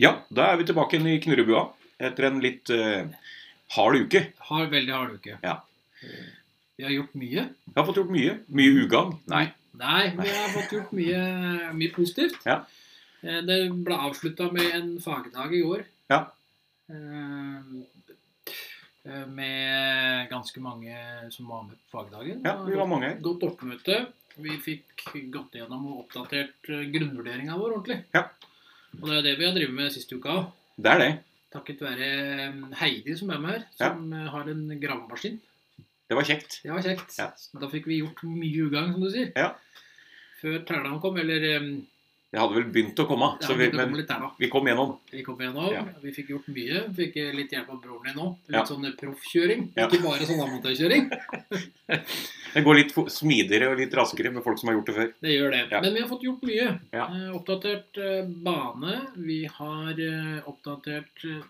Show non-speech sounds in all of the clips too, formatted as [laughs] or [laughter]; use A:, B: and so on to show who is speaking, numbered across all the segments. A: Ja, da er vi tilbake igjen i knurrebua etter en litt eh, hard uke.
B: Har veldig hard uke.
A: Ja.
B: Vi har gjort mye.
A: Jeg har fått gjort mye. Mye ugagn. Nei.
B: Nei, vi har fått gjort mye, mye positivt.
A: Ja.
B: Eh, Det ble avslutta med en fagdag i går.
A: Ja.
B: Eh, eh, Med ganske mange som var med på fagdagen.
A: Ja, vi var mange her.
B: Godt oppmøte. Vi fikk gått gjennom og oppdatert eh, grunnvurderinga vår ordentlig.
A: Ja.
B: Og det er det vi har drevet med siste uka òg.
A: Det er det.
B: Takket være eh, Heidi som er med her, som eh, har en gravemaskin.
A: Det var kjekt.
B: Det var kjekt.
A: Ja.
B: Så Da fikk vi gjort mye ugagn, som du sier.
A: Ja.
B: Før ternene kom, eller eh,
A: Det hadde vel begynt å komme,
B: ja,
A: så vi,
B: det kom
A: men
B: litt terna.
A: vi kom gjennom.
B: Vi kom gjennom,
A: Ja.
B: vi fikk gjort mye. Fikk eh, litt hjelp av broren din òg. Litt
A: Ja.
B: sånn proffkjøring.
A: Ja.
B: Ikke bare sånn amatørkjøring.
A: Det går litt fo- smidigere og litt raskere med folk som har gjort det før.
B: Det gjør det.
A: Ja.
B: Men vi har fått gjort mye.
A: Ja.
B: Eh, oppdatert eh, bane. Vi har eh, oppdatert eh,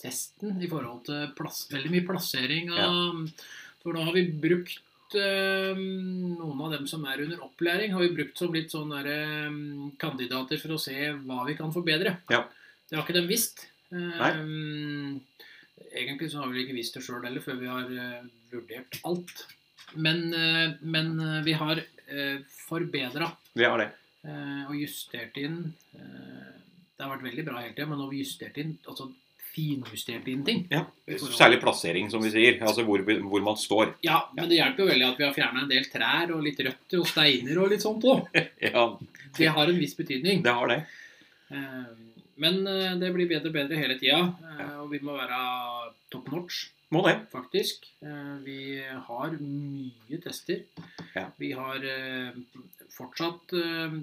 B: testen i forhold til plass, veldig mye plassering av For nå har vi brukt eh, noen av dem som er under opplæring, har vi brukt som litt sånne der, eh, kandidater for å se hva vi kan forbedre.
A: Ja.
B: Det har ikke de visst. Eh, egentlig så har vi vel ikke visst det sjøl heller, før vi har eh, vurdert alt. Men, eh, men eh, vi har eh, forbedra
A: Vi har det.
B: eh, og justert inn eh, Det har vært veldig bra hele tida, men nå har vi justert inn altså finjustert inn ting.
A: Ja. Særlig plassering, som vi sier. Altså hvor, vi- hvor man står. [laughs]
B: Ja, men det hjelper jo veldig at vi har fjerna en del trær og litt røtter og steiner og litt sånt òg.
A: Ja,
B: Det har en viss betydning.
A: det har det.
B: Eh, Men eh, det blir bedre og bedre hele tida, eh, og vi må være top notch.
A: Må det.
B: faktisk. Eh, Vi har mye tester.
A: Ja.
B: Vi har eh, fortsatt eh,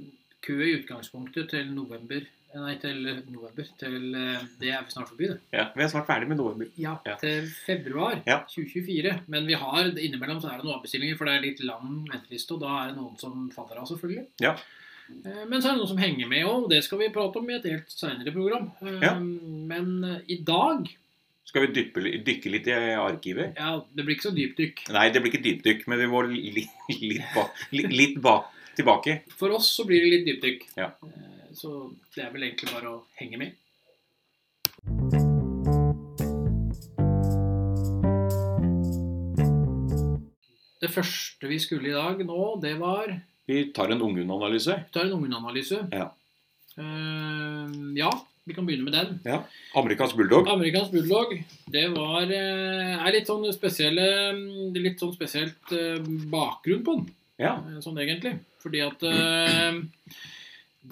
B: kø i utgangspunktet til november. Nei, til november. Til eh, Det er snart forbi, det.
A: Ja. Vi er snart ferdig med november.
B: Ja,
A: Ja.
B: Til februar
A: Ja.
B: 2024. Men vi har, innimellom så er det noen avbestillinger, for det er litt lang venteliste, og da er det noen som faller av, selvfølgelig.
A: Ja.
B: Eh, Men så er det noen som henger med òg, og det skal vi prate om i et helt seinere program. Eh,
A: Ja.
B: Men eh, i dag
A: Skal vi dyppe, li- dykke litt i arkivet?
B: Ja, det blir ikke så dypdykk.
A: Nei, det blir ikke dypdykk, men vi må li, litt, ba, li, litt ba, tilbake.
B: For oss så blir det litt dypdykk.
A: Ja.
B: Eh, Så det er vel egentlig bare å henge med. Det første vi skulle i dag nå, det var
A: Vi tar en unghundanalyse.
B: Vi tar en ungenanalyse.
A: Ja.
B: Eh, ja, vi kan begynne med den.
A: Amerikansk bulldog.
B: Amerikansk bulldog, det var eh, er litt sånn spesielle Litt sånn spesielt eh, bakgrunn på den.
A: Ja.
B: Eh, sånn egentlig. Fordi at eh,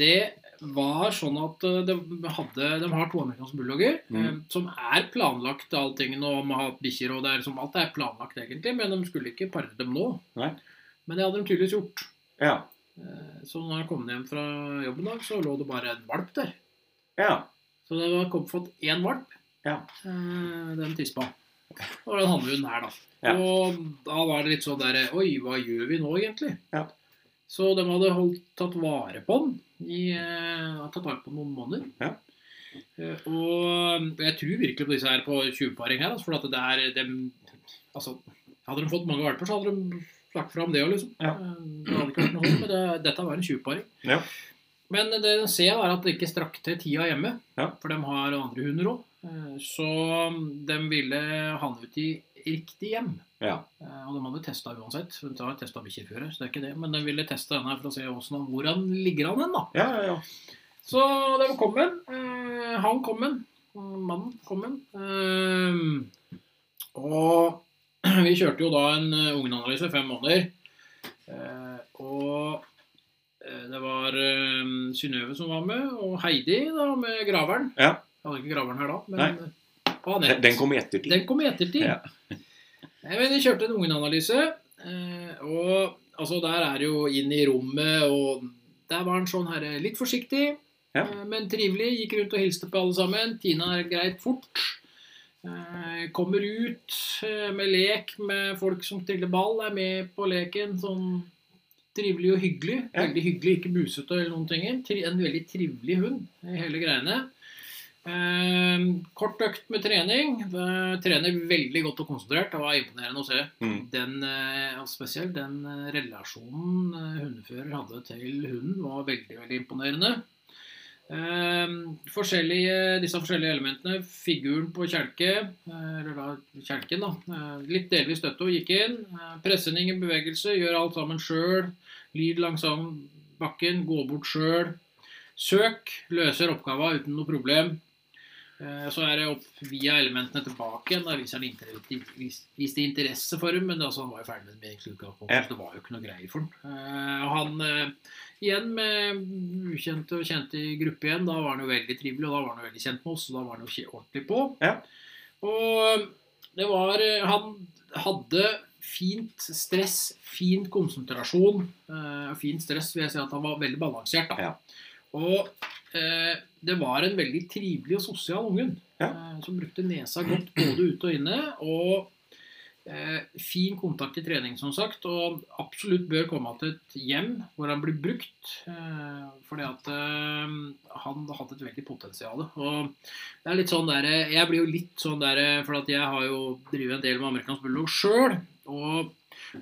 B: det var sånn at eh, de, hadde, de har to amerikanske bulldogger eh,
A: Mm.
B: som er planlagt, allting nå om å ha bikkjer og det er som alt er planlagt egentlig, men de skulle ikke pare dem nå.
A: Nei.
B: Men det hadde de tydeligvis gjort.
A: Ja.
B: Eh, Så når jeg kom hjem fra jobben i dag, så lå det bare en valp der.
A: Ja.
B: Så det var kom fått én valp.
A: Ja.
B: Eh, Den tispa. Og den handlehunden her, da.
A: Ja.
B: Og da var det litt sånn derre Oi, hva gjør vi nå, egentlig?
A: Ja.
B: Så de hadde holdt, tatt vare på den i eh, Tatt vare på den noen måneder.
A: Ja.
B: Eh, og jeg tror virkelig på disse her på tjuvparing her, altså, for at det er dem Altså, hadde de fått mange valper, så hadde de lagt fram det òg, liksom.
A: Ja.
B: Eh, Det hadde ikke vært noe hold, men det, dette var en tjuvparing.
A: Ja.
B: Men det de ser, er at det ikke strakk til tida hjemme.
A: Ja.
B: For de har andre hunder òg. Så de ville handle ut i riktig hjem.
A: Ja.
B: Eh, Og de hadde testa uansett. De har testet bikkjer før, så det er ikke det. Men de ville teste denne her for å se hvordan, hvor han ligger an hen, da.
A: Ja, ja, ja.
B: Så de kom med den. Eh, Han kom med den. Mannen kom med den. Eh, Og [clears throat] vi kjørte jo da en eh, ungenanalyse, fem måneder. Eh, Og eh, det var eh, Synnøve som var med, og Heidi da med graveren.
A: Ja.
B: Jeg hadde ikke graveren her da,
A: Nei.
B: men og Anette.
A: Den- Den kom i ettertid.
B: Den kom i ettertid.
A: Ja.
B: Nei, men jeg kjørte en ungenanalyse, eh, og altså, der er det jo inn i rommet, og der var han sånn her eh, litt forsiktig,
A: Ja.
B: eh, men trivelig. Gikk rundt og hilste på alle sammen. Tina er greit fort. Eh, Kommer ut eh, med lek med folk som triller ball, er med på leken. Sånn trivelig og hyggelig.
A: Ja.
B: Veldig hyggelig, ikke busete eller noen ting. Tri- En veldig trivelig hund i hele greiene. Eh, kort økt med trening. Eh, trener veldig godt og konsentrert. Det var imponerende å se.
A: Mm.
B: Den, eh, og spesielt den eh, relasjonen eh, hundefører hadde til hunden, var veldig veldig imponerende. Ehm, forskjellige, disse forskjellige elementene, figuren på kjelke, eh, eller da kjelken, da, eh, litt delvis støtte og gikk inn. eh, Pressening i bevegelse, gjør alt sammen sjøl. Lyd langs sammen bakken, gå bort sjøl. Søk, løser oppgava uten noe problem. Eh, Så er det opp via elementene tilbake igjen. Da viser han inter- vis- viste interesse for dem, men altså, han var jo ferdig med det egentlig i utgangspunktet,
A: Ja.
B: så det var jo ikke noe greier for ham. Han eh, Igjen med ukjente og kjente i gruppe igjen. Da var han jo veldig trivelig, og da var han jo veldig kjent med oss. Og da var han jo ikke ordentlig på.
A: Ja.
B: Og eh, det var eh, Han hadde fint stress, fin konsentrasjon. eh, Fint stress vil jeg si at han var veldig balansert, da.
A: Ja.
B: Og eh, det var en veldig trivelig og sosial unggutt eh, som brukte nesa godt både ute og inne. Og eh, fin kontakt i trening, som sagt. Og absolutt bør komme til et hjem hvor han blir brukt. Eh, fordi at eh, han har hatt et veldig potensial. Og det er litt sånn der, jeg blir jo litt sånn der For at jeg har jo drevet en del med amerikansk bulldog sjøl. Og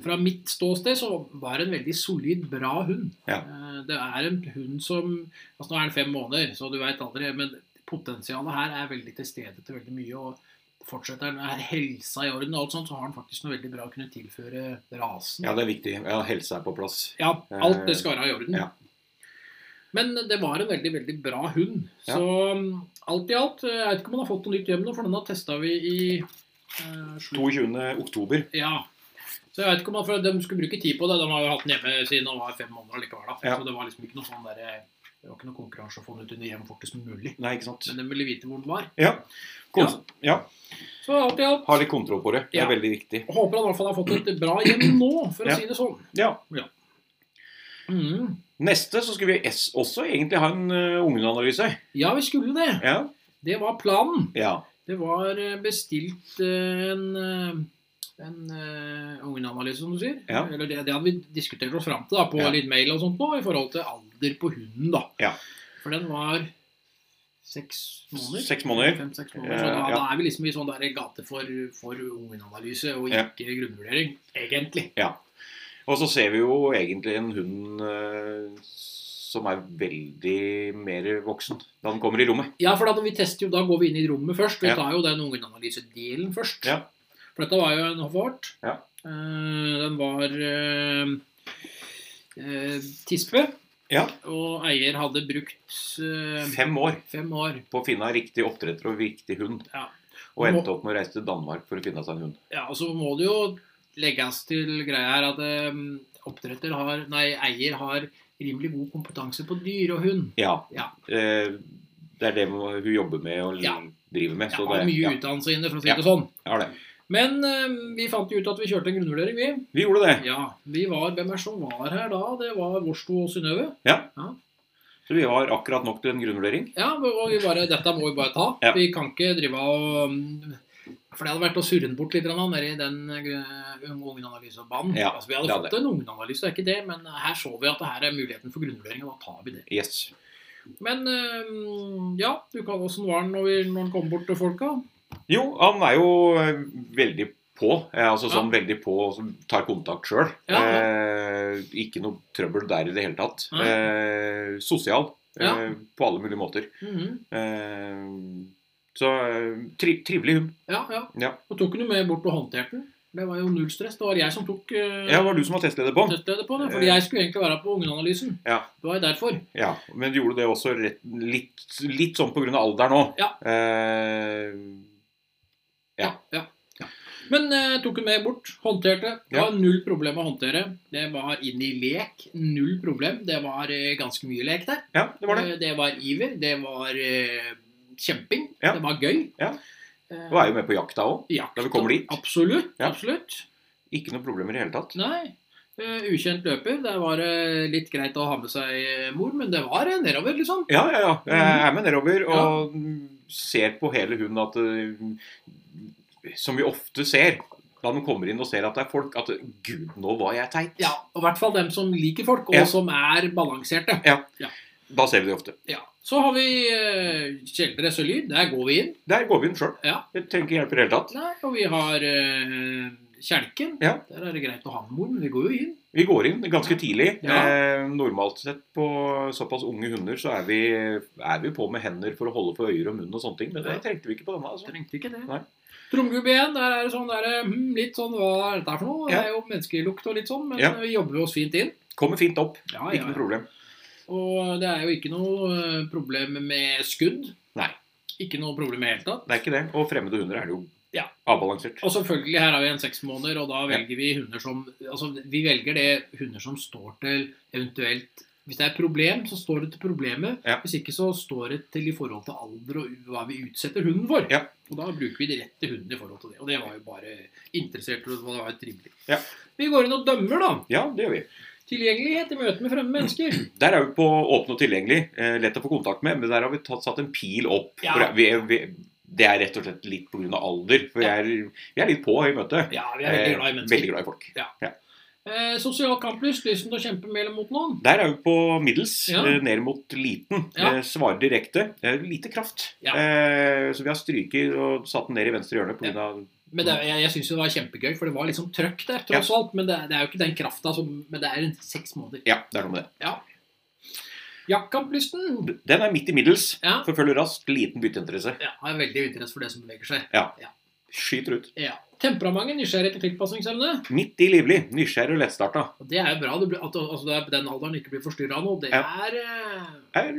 B: fra mitt ståsted så var det en veldig solid, bra hund.
A: Ja.
B: Eh, Det er en hund som Altså Nå er den fem måneder, så du veit aldri. Men potensialet her er veldig til stede til veldig mye. og Fortsetter den, er helsa i orden, og alt sånt, så har han faktisk noe veldig bra å kunne tilføre rasen.
A: Ja, det er viktig. Ja, helse er på plass.
B: Ja, alt det skal være i orden.
A: Eh, Ja.
B: Men det var en veldig veldig bra hund.
A: Ja.
B: Så um, alt i alt eh, Jeg vet ikke om han har fått noe nytt hjem nå, for denne testa vi i eh, slutt-
A: 22. oktober.
B: ja. Så jeg vet ikke om han, for De skulle bruke tid på det. De har jo hatt den hjemme siden han var fem måneder likevel. Da.
A: Ja.
B: Så det var liksom ikke noe sånn der, det var ikke noe konkurranse å få den ut under hjem fortest mulig.
A: Nei, ikke sant.
B: Men de ville vite hvor den var.
A: Ja. Kons ja.
B: Så alt i alt
A: Ha litt kontroll på det. Det er
B: Ja.
A: veldig viktig.
B: håper han i hvert fall har fått et bra hjem nå, for å
A: Ja.
B: si det sånn.
A: Ja.
B: Mm.
A: Neste så skulle vi s- også egentlig ha en uh, ungeanalyse.
B: Ja, vi skulle det.
A: Ja.
B: Det var planen.
A: ja.
B: Det var eh, bestilt eh, en, eh, en eh, ungenanalyse, som du sier.
A: Ja.
B: Eller det, det hadde vi diskutert oss fram til da, på
A: Ja.
B: litt mail og sånt nå, i forhold til alder på hunden. da.
A: Ja.
B: For den var seks måneder.
A: Seks måneder.
B: Fem-seks måneder. Så da,
A: Eh, ja.
B: da er vi liksom i sånn der gate for, for ungenanalyse og
A: Ja.
B: ikke grunnvurdering, egentlig.
A: Og så ser vi jo egentlig en hund eh, som er veldig mer voksen da den kommer i rommet.
B: Ja, for da, vi tester jo, da går vi inn i rommet først. Vi
A: Ja.
B: tar jo den ungenanalysedelen først.
A: Ja.
B: For dette var jo en hoffart.
A: Ja.
B: Eh, den var eh, eh, tispe,
A: Ja.
B: og eier hadde brukt eh,
A: Fem år
B: fem år.
A: på å finne riktig oppdretter og riktig hund.
B: Ja.
A: Og endte opp med å reise til Danmark for å finne seg en hund.
B: Ja, og så må det jo legges til greia her at eh, oppdretter har, nei, eier har rimelig god kompetanse på dyr og hund.
A: Ja.
B: Ja.
A: Eh, det er det hun jobber med og
B: Ja.
A: driver med.
B: Jeg
A: Så
B: har
A: det,
B: mye
A: ja,
B: utdannelse inne, for å si
A: Ja.
B: det sånn.
A: ja, det.
B: Men eh, vi fant jo ut at vi kjørte en grunnvurdering, vi.
A: Vi gjorde det.
B: Ja, vi var, Hvem er det som var her da? Det var vårs to og Synnøve.
A: Så vi var akkurat nok til en grunnvurdering.
B: Ja, og vi bare, dette må vi bare ta.
A: Ja.
B: Vi kan ikke drive og um, For det hadde vært å surre den bort litt grann, da, nede i den uh, ungenanalysebanen.
A: Ja,
B: altså, vi hadde
A: det hadde.
B: fått en ungenanalyse, det er ikke det, men uh, her så vi at det her er muligheten for grunnvurdering, og da tar vi det.
A: Yes.
B: Men um, ja, du kan åssen var den når, vi, når den kom bort til folka?
A: Jo, han er jo eh, veldig på. eh, Altså sånn veldig på som tar kontakt sjøl.
B: Ja, ja.
A: Eh, ikke noe trøbbel der i det hele tatt.
B: Nei.
A: Eh, sosial
B: Ja.
A: eh, på alle mulige måter.
B: Mhm.
A: Eh, så eh, tri trivelig hund.
B: Ja, ja.
A: Ja.
B: Og tok den jo med bort og håndterte den. Det var jo null stress. Det var jeg som tok uh,
A: Ja, det var du som var testleder på den. Eh.
B: testleder på det, fordi jeg skulle egentlig være på ungenanalysen.
A: Ja.
B: Det var jo derfor.
A: Ja, men du gjorde det også rett, litt, litt sånn pga. alderen òg.
B: Ja.
A: Eh, Ja.
B: ja. Men eh, tok hun med bort, håndterte. Det
A: Ja.
B: var null problem å håndtere. Det var inn i lek, null problem. Det var eh, ganske mye lek der.
A: ja, det var det.
B: Eh, det var iver, det var eh, kjemping,
A: Ja.
B: det var gøy.
A: Ja.
B: Eh,
A: Du er jo med på jakta òg.
B: jakt,
A: da vi kommer dit.
B: Absolutt.
A: Ja.
B: absolutt.
A: Ikke noe problemer i det hele tatt.
B: Nei. Eh, ukjent løper. Der var det litt greit å ha med seg eh, mor, men det var eh, nedover, liksom.
A: Ja, ja, ja. Jeg er med nedover og ser på hele hunden at eh, Som vi ofte ser da de kommer inn og ser at det er folk, at Gud, nå var jeg teit.
B: Ja, og I hvert fall dem som liker folk, og
A: Ja.
B: som er balanserte.
A: Da ser vi det ofte.
B: Ja. Så har vi uh, Kjeldres og Lyd. Der går vi inn.
A: Der går vi inn sjøl.
B: Ja.
A: Det trenger ikke hjelp i det hele tatt.
B: Nei, og vi har eh, Kjelken.
A: Ja.
B: Der er det greit å ha med mor, men vi går jo inn.
A: Vi går inn ganske tidlig.
B: Ja.
A: Eh, normalt sett på såpass unge hunder så er vi, er vi på med hender for å holde for øyer og munn og sånne ting. Men det
B: Ja.
A: trengte vi ikke på denne. altså.
B: Trengte ikke det.
A: Nei.
B: Tromgubbe igjen, der er det sånn der, hmm, litt sånn Hva er dette her for noe?
A: Ja.
B: Det er jo menneskelukt og litt sånn, men
A: Ja.
B: vi jobber oss fint inn.
A: Kommer fint opp.
B: Ja,
A: Ikke noe problem.
B: Og det er jo ikke noe eh, problem med skudd.
A: Nei.
B: Ikke noe problem i det hele tatt.
A: Det er ikke det. Og fremmede hunder er jo
B: Ja.
A: avbalansert.
B: Og selvfølgelig, her har vi en seks måneder, og da velger vi hunder som Altså, vi velger det hunder som står til eventuelt Hvis det er et problem, så står det til problemet.
A: Ja.
B: Hvis ikke, så står det til i forhold til alder og hva vi utsetter hunden for.
A: Ja.
B: Og da bruker vi de rette hundene i forhold til det. Og det var jo bare interessert i hva det var trivelig.
A: Ja.
B: Vi går inn og dømmer, da.
A: Ja, det gjør vi.
B: Tilgjengelighet i møte med fremmede mennesker.
A: Der er vi på åpen og tilgjengelig. Eh, lett å få kontakt med, men der har vi tatt, satt en pil opp.
B: Ja.
A: For vi, vi, det er rett og slett litt pga. alder. For vi er, vi er litt på i møtet.
B: Ja, vi er veldig glad i
A: Eh,
B: mennesker.
A: veldig glad i folk.
B: Eh, sosial kamplyst, lysten til å kjempe med eller mot noen.
A: Der er vi på middels,
B: Ja.
A: eh, ned mot liten.
B: Ja.
A: Eh, Svarer direkte. Eh, Lite kraft.
B: Ja.
A: Eh, Så vi har stryket og satt den ned i venstre hjørne pga.
B: Men det, jeg, jeg syns det var kjempegøy, for det var liksom trøkk der, tross alt. Men det, det er jo ikke den krafta som Men det er en seks måneder.
A: Ja, det er noe med det.
B: Jaktkamplysten
A: Den er midt i middels.
B: Ja.
A: Forfølger raskt. Liten bytteinteresse.
B: ja, har veldig interesse for det som beveger seg.
A: Skyter ut.
B: Ja. Temperamentet, nysgjerrighet og tilpasningsevne.
A: Midt i livlig. Nysgjerrig og lettstarta.
B: Og Det er jo bra det blir, at altså, det er på den alderen ikke blir forstyrra av noe. Det er eh,
A: Er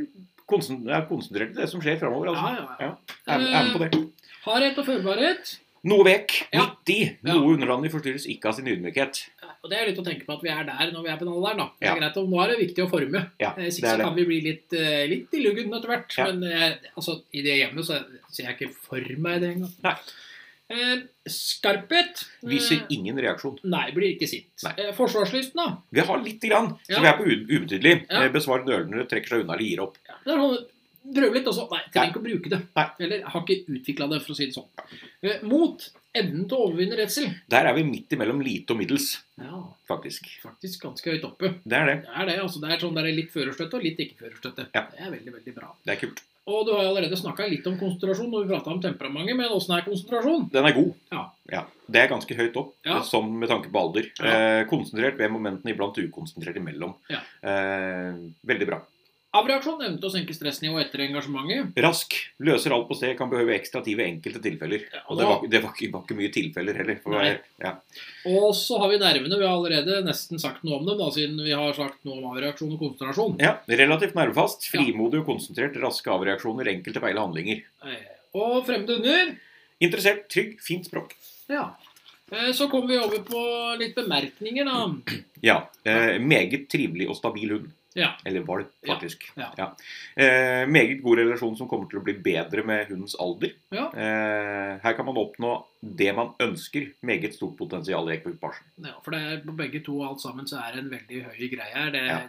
A: konsen- er konsentrert til det som skjer framover.
B: Ja,
A: Altså.
B: ja, ja.
A: Ja. Er, er med på det.
B: Hardhet og førbarhet.
A: Noe vekk,
B: Ja.
A: midt i.
B: Ja.
A: Noe underlandig forstyrres ikke av sin ydmykhet.
B: Og Det er litt å tenke på at vi er der når vi er på den alderen. da. Det er
A: Ja.
B: greit, og Nå er det viktig å forme.
A: Ja,
B: Eh,
A: det
B: Sikkert
A: er
B: så
A: det.
B: kan vi bli litt, eh, litt i luggen etter hvert.
A: Ja.
B: Men eh, altså, i det hjemmet så ser jeg ikke for meg det engang.
A: Nei.
B: Eh, skarphet eh,
A: Viser ingen reaksjon.
B: Nei, blir ikke sint.
A: Nei.
B: Eh, forsvarslysten, da.
A: Vi har lite grann,
B: Ja.
A: så vi er på u- ubetydelig.
B: Ja.
A: Eh, Besvar nølende, trekker seg unna eller gir opp.
B: Ja, det er sånn, Prøve litt, og så Nei, trenger ikke å bruke det.
A: Nei.
B: Eller har ikke utvikla det, for å si det sånn. Eh, mot. Evnen til å overvinne redsel.
A: Der er vi midt imellom lite og middels,
B: Ja,
A: faktisk.
B: faktisk ganske høyt oppe.
A: Det er det.
B: Det er det. altså Det er sånn der litt førerstøtte og litt ikke-førerstøtte.
A: Ja.
B: Det er veldig, veldig bra.
A: Det er kult.
B: Og du har jo allerede snakka litt om konsentrasjon når vi prata om temperamentet, men åssen er konsentrasjon?
A: Den er god.
B: Ja.
A: Det er ganske høyt opp,
B: Ja.
A: sånn med tanke på alder.
B: Ja.
A: Eh, konsentrert ved momentene, iblant ukonsentrert imellom.
B: Ja.
A: Eh, veldig bra.
B: Avreaksjon evne til å senke stressnivået etter engasjementet.
A: Rask. Løser alt på sted. Kan behøve ekstra tid ved enkelte tilfeller.
B: Ja,
A: Og det var, det var, ikke, var ikke mye tilfeller heller. For å
B: Nei.
A: være- ja.
B: og så har vi nervene. Vi har allerede nesten sagt noe om dem, da, siden vi har sagt noe om avreaksjon og konsentrasjon.
A: Ja, Relativt nervefast,
B: Ja.
A: frimodig og konsentrert, raske avreaksjoner, enkelte feile handlinger.
B: Eh, Og fremmede hunder.
A: Interessert, trygg, fint språk.
B: Ja. Eh, Så kommer vi over på litt bemerkninger, da.
A: Ja. Eh, meget trivelig og stabil hund.
B: Ja.
A: Eller valp,
B: Ja,
A: faktisk.
B: ja.
A: Eh, meget god relasjon som kommer til å bli bedre med hundens alder.
B: Ja.
A: Eh, her kan man oppnå det man ønsker. Meget stort potensial i ekvipasjen.
B: Ja, for det er på begge to alt sammen så er det en veldig høy greie her. Det,
A: Ja.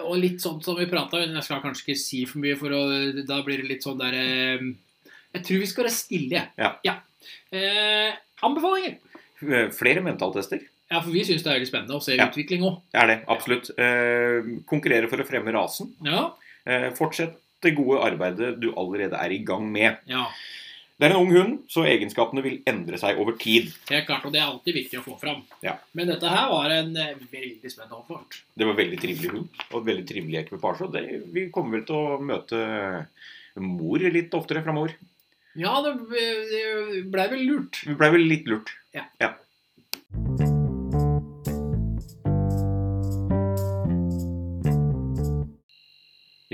B: Og litt sånn som vi prata om, jeg skal kanskje ikke si for mye, for å, da blir det litt sånn der eh, Jeg tror vi skal være stille, jeg.
A: Ja.
B: Eh, anbefalinger!
A: Eh, Flere mentaltester.
B: Ja, for vi syns det er veldig spennende å se
A: Ja.
B: utvikling òg.
A: Er det, absolutt. Eh, konkurrere for å fremme rasen.
B: Ja.
A: Eh, fortsett det gode arbeidet du allerede er i gang med.
B: ja.
A: Det er en ung hund, så egenskapene vil endre seg over tid.
B: Helt klart. Og det er alltid viktig å få fram.
A: Ja.
B: Men dette her var en eh, veldig spennende oppfart.
A: Det var veldig trivelig hund og et veldig trivelig ekvipasje. og Det, vi kommer vel til å møte mor litt oftere framover.
B: Ja, det, det blei vel lurt.
A: Vi blei vel litt lurt.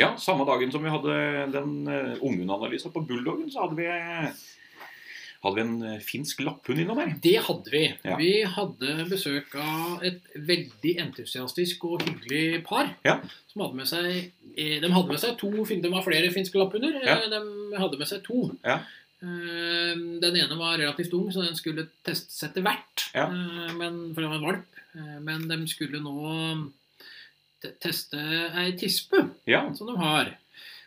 A: Ja, samme dagen som vi hadde den eh, unghundanalysen på bulldoggen, så hadde vi, hadde vi en eh, finsk lapphund innom her.
B: Det hadde vi.
A: Ja.
B: Vi hadde besøk av et veldig entusiastisk og hyggelig par.
A: Ja.
B: Som hadde med seg, eh, de hadde med seg to fin- De var flere finske lapphunder. eh,
A: Ja.
B: De hadde med seg to.
A: Ja.
B: Eh, Den ene var relativt ung, så den skulle testes etter hvert.
A: Ja.
B: eh, Men, for det var en valp. Eh, Men de skulle nå te- teste ei tispe
A: Ja,
B: som de har.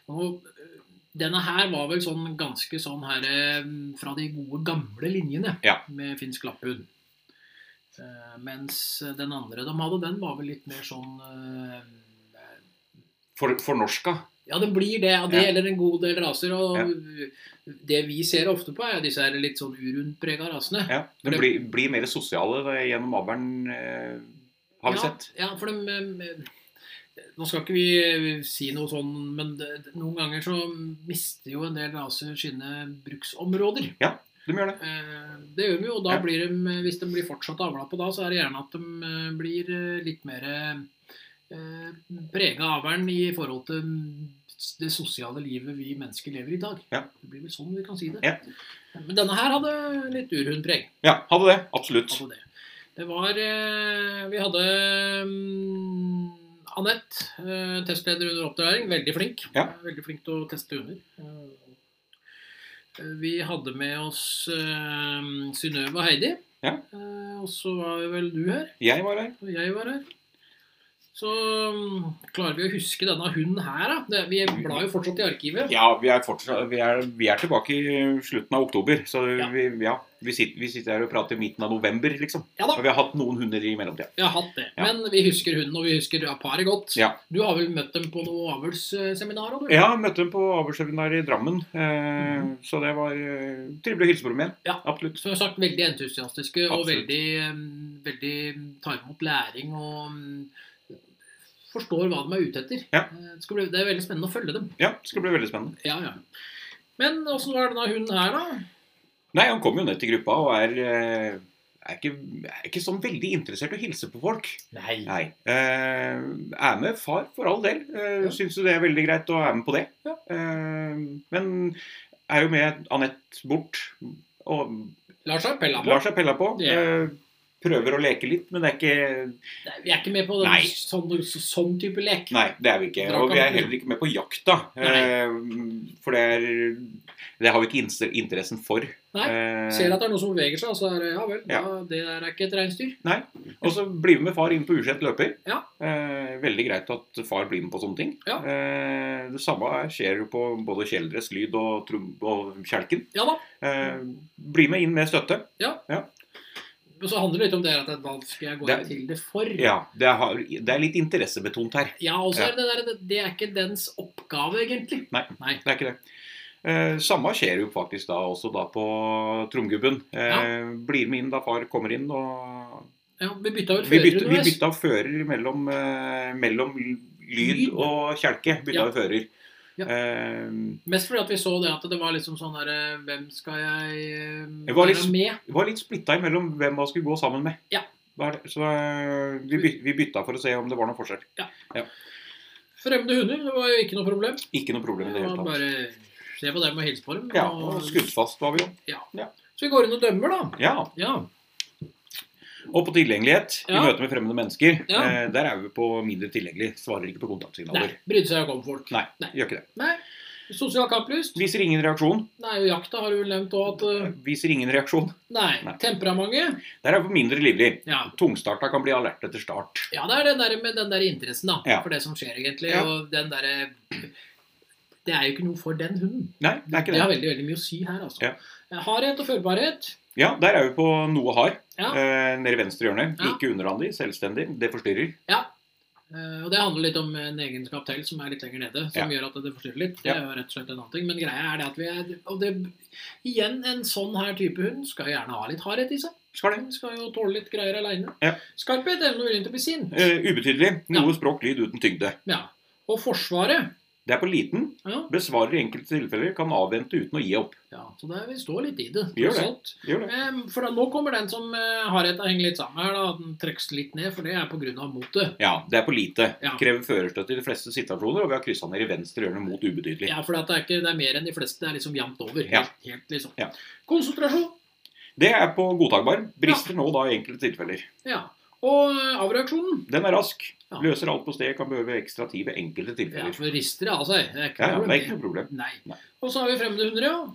B: Og eh, denne her var vel sånn ganske sånn her eh, fra de gode, gamle linjene
A: Ja.
B: med finsk lapphund. Eh, Mens den andre de hadde, den var vel litt mer sånn eh,
A: for, for norska.
B: Ja, den blir det av det,
A: Ja.
B: eller en god del raser. Og det vi ser ofte på, er jo disse her litt sånn urundprega rasene.
A: Ja, De
B: Det-
A: blir, blir mer sosiale gjennom avlen. eh, har vi
B: ja,
A: sett.
B: Ja, for de eh, Nå skal ikke vi si noe sånn, men det- noen ganger så mister jo en del raser sine bruksområder.
A: De gjør det.
B: Eh, Det gjør de jo, og da
A: Ja.
B: blir de, eh, hvis de blir fortsatt avla på da, så er det gjerne at de eh, blir eh, litt mer prega av avlen i forhold til det sosiale livet vi mennesker lever i i dag.
A: Ja.
B: Det blir vel sånn vi kan si det.
A: Ja.
B: Men denne her hadde litt urhundpreg.
A: Ja, hadde det. Absolutt.
B: Altså det. det var eh, Vi hadde mm, Anette, eh, testleder under oppdragning. Veldig flink.
A: Ja.
B: Veldig flink til å teste hunder. Eh, Vi hadde med oss eh, Synnøve og Heidi.
A: Ja.
B: Eh, og så var vel du her,
A: Jeg var her.
B: og jeg var her. Så mm, klarer vi å huske denne hunden her, da. Det, vi blar jo fortsatt i arkivet.
A: Ja, vi er, fortsatt, vi, er, vi er tilbake i slutten av oktober. Så
B: Ja.
A: vi, ja, vi, sitter, vi sitter her og prater i midten av november, liksom.
B: Ja
A: Og
B: da,
A: vi har hatt noen hunder i mellomtida.
B: vi har hatt det.
A: Ja.
B: Men vi husker hunden, og vi husker ja, paret godt.
A: Ja.
B: Du har vel møtt dem på noe avlsseminar? har du?
A: Ja, møtte dem på avlsseminar i Drammen. Eh, Så det var eh, trivelig å hilse på dem igjen.
B: Ja.
A: Absolutt.
B: som sagt, veldig entusiastiske og
A: Absolutt.
B: veldig, eh, veldig tar imot læring og mm, forstår hva de er ute etter.
A: Ja.
B: Eh, Det, skal bli, det er veldig spennende å følge dem.
A: Ja, det skal bli veldig spennende.
B: Ja, ja. Men åssen var denne hunden her, da?
A: Nei, han kom jo ned til gruppa og er, eh, er, ikke, er ikke sånn veldig interessert i å hilse på folk.
B: Nei.
A: Nei. Eh, er med far, for all del. Eh,
B: Ja.
A: Syns jo det er veldig greit å være med på det.
B: Ja.
A: Eh, men er jo med Anette bort og
B: Lars har pella på.
A: lar seg pella på.
B: Ja.
A: Eh, prøver å leke litt, men det er ikke
B: Nei, Vi er ikke med på den,
A: Nei.
B: sånn, sånn type lek.
A: Nei, det er vi ikke.
B: Dere
A: Og vi
B: kan-
A: er heller ikke med på jakta. eh, For det er Det har vi ikke inter- interessen for.
B: Nei,
A: Eh,
B: Ser at det er noe som beveger seg, så er det ja vel,
A: Ja.
B: Da, det der er ikke et reinsdyr.
A: Og så blir vi med far inn på usett løper.
B: Ja.
A: Eh, Veldig greit at far blir med på sånne ting.
B: Ja.
A: Eh, Det samme skjer jo på både kjeledress, lyd og, trom og kjelken.
B: Ja da.
A: Eh, Bli med inn med støtte.
B: Men så handler det litt om det her at hva skal jeg gå
A: Det-
B: til det for?
A: Ja, det har- det er litt interessebetont her.
B: Ja, og så
A: Ja.
B: er det der, det- det er ikke dens oppgave, egentlig.
A: Det er ikke det. Eh, samme skjer jo faktisk da også da på Tromgubben. Eh, Blir med inn da far kommer inn. og
B: Ja, vi bytta ut
A: Vi
B: fører
A: bytta, vi
B: underveis.
A: bytta fører mellom, eh, mellom lyd
B: Lyd.
A: og kjelke. Bytta
B: Ja.
A: vi fører.
B: Ja.
A: Eh,
B: Mest fordi at vi så det at det var liksom sånn der eh, Hvem skal jeg eh,
A: Det var liksom- litt-
B: være med?
A: det var litt splitta imellom hvem man skulle gå sammen med.
B: Ja.
A: Det er det. Så eh, vi, by, vi bytta for å se om det var noen forskjell.
B: Fremmede hunder, det var jo ikke noe problem.
A: Ikke noe problem i det
B: Det
A: hele
B: var
A: tatt.
B: bare se på dem og hilse på dem.
A: Ja,
B: og-
A: og skuddfast var vi jo.
B: Så vi går inn og dømmer, da.
A: Ja.
B: Ja.
A: Og på tilgjengelighet i
B: Ja.
A: møte med fremmede mennesker.
B: Ja.
A: Eh, der er vi på mindre tilgjengelig. Svarer ikke på
B: Nei,
A: kontaktsignaler.
B: Brydde seg ikke om folk.
A: Nei. Gjør ikke det.
B: Nei. Sosial kapplyst.
A: Viser ingen reaksjon.
B: Nei, og jakta har du vel nevnt òg at eh,
A: Viser ingen reaksjon.
B: Nei.
A: Nei.
B: Temperamentet.
A: Der er vi mindre livlig.
B: Ja.
A: Tungstarta kan bli alert etter start.
B: ja, det er det der med den der interessen da,
A: Ja.
B: for det som skjer, egentlig.
A: Ja.
B: Og den derre Det er jo ikke noe for den hunden.
A: Nei, det er ikke
B: Det har
A: det.
B: veldig veldig mye å si her, altså.
A: Ja.
B: Eh, Hardhet og førbarhet.
A: Ja, der er vi på noe hard.
B: Ja.
A: Eh, nede i venstre hjørne.
B: Ja.
A: Ikke underhandig, selvstendig. Det forstyrrer.
B: Eh, Og Det handler litt om en egenskap til som er litt lenger nede, som gjør at det forstyrrer litt. Det
A: Ja.
B: er jo rett og slett en annen ting. Men greia er det at vi er Og det, igjen, en sånn her type hund skal jo gjerne ha litt hardhet i seg.
A: Skal det.
B: Den skal jo tåle litt greier aleine.
A: Ja.
B: Skarphet, evne og vilje til å bli sint.
A: Eh, ubetydelig. Noe språk, lyd uten tyngde.
B: Ja. Og Forsvaret.
A: Det er på liten.
B: Ja.
A: Besvarer i enkelte tilfeller. Kan avvente uten å gi opp.
B: ja. Så det, vi står litt i det.
A: Vi gjør det.
B: tross alt.
A: Gjør det.
B: Eh, For da, nå kommer den som eh, hardheten henger litt sammen her, da. at Den trekkes litt ned, for det er på grunn av motet.
A: Ja, det er på lite.
B: Ja.
A: Krever førerstøtte i de fleste situasjoner, og vi har kryssa ned i venstre hjørne mot ubetydelig.
B: Ja, for det er, ikke, det er mer enn de fleste. Det er liksom jevnt over. Helt,
A: Ja.
B: helt liksom.
A: Ja.
B: Konsentrasjon.
A: Det er på godtakbar. Brister nå da i enkelte tilfeller.
B: Ja. Og eh, avreaksjonen.
A: Den er rask.
B: Ja.
A: Løser alt på stedet. Kan behøve ekstra tid ved enkelte
B: Ja,
A: tilfeller.
B: for rister det av seg. Det er ikke
A: Ja, ja,
B: noe
A: det er ikke
B: problem.
A: noe problem. Nei.
B: Nei. Og så har vi fremmede hunder, ja.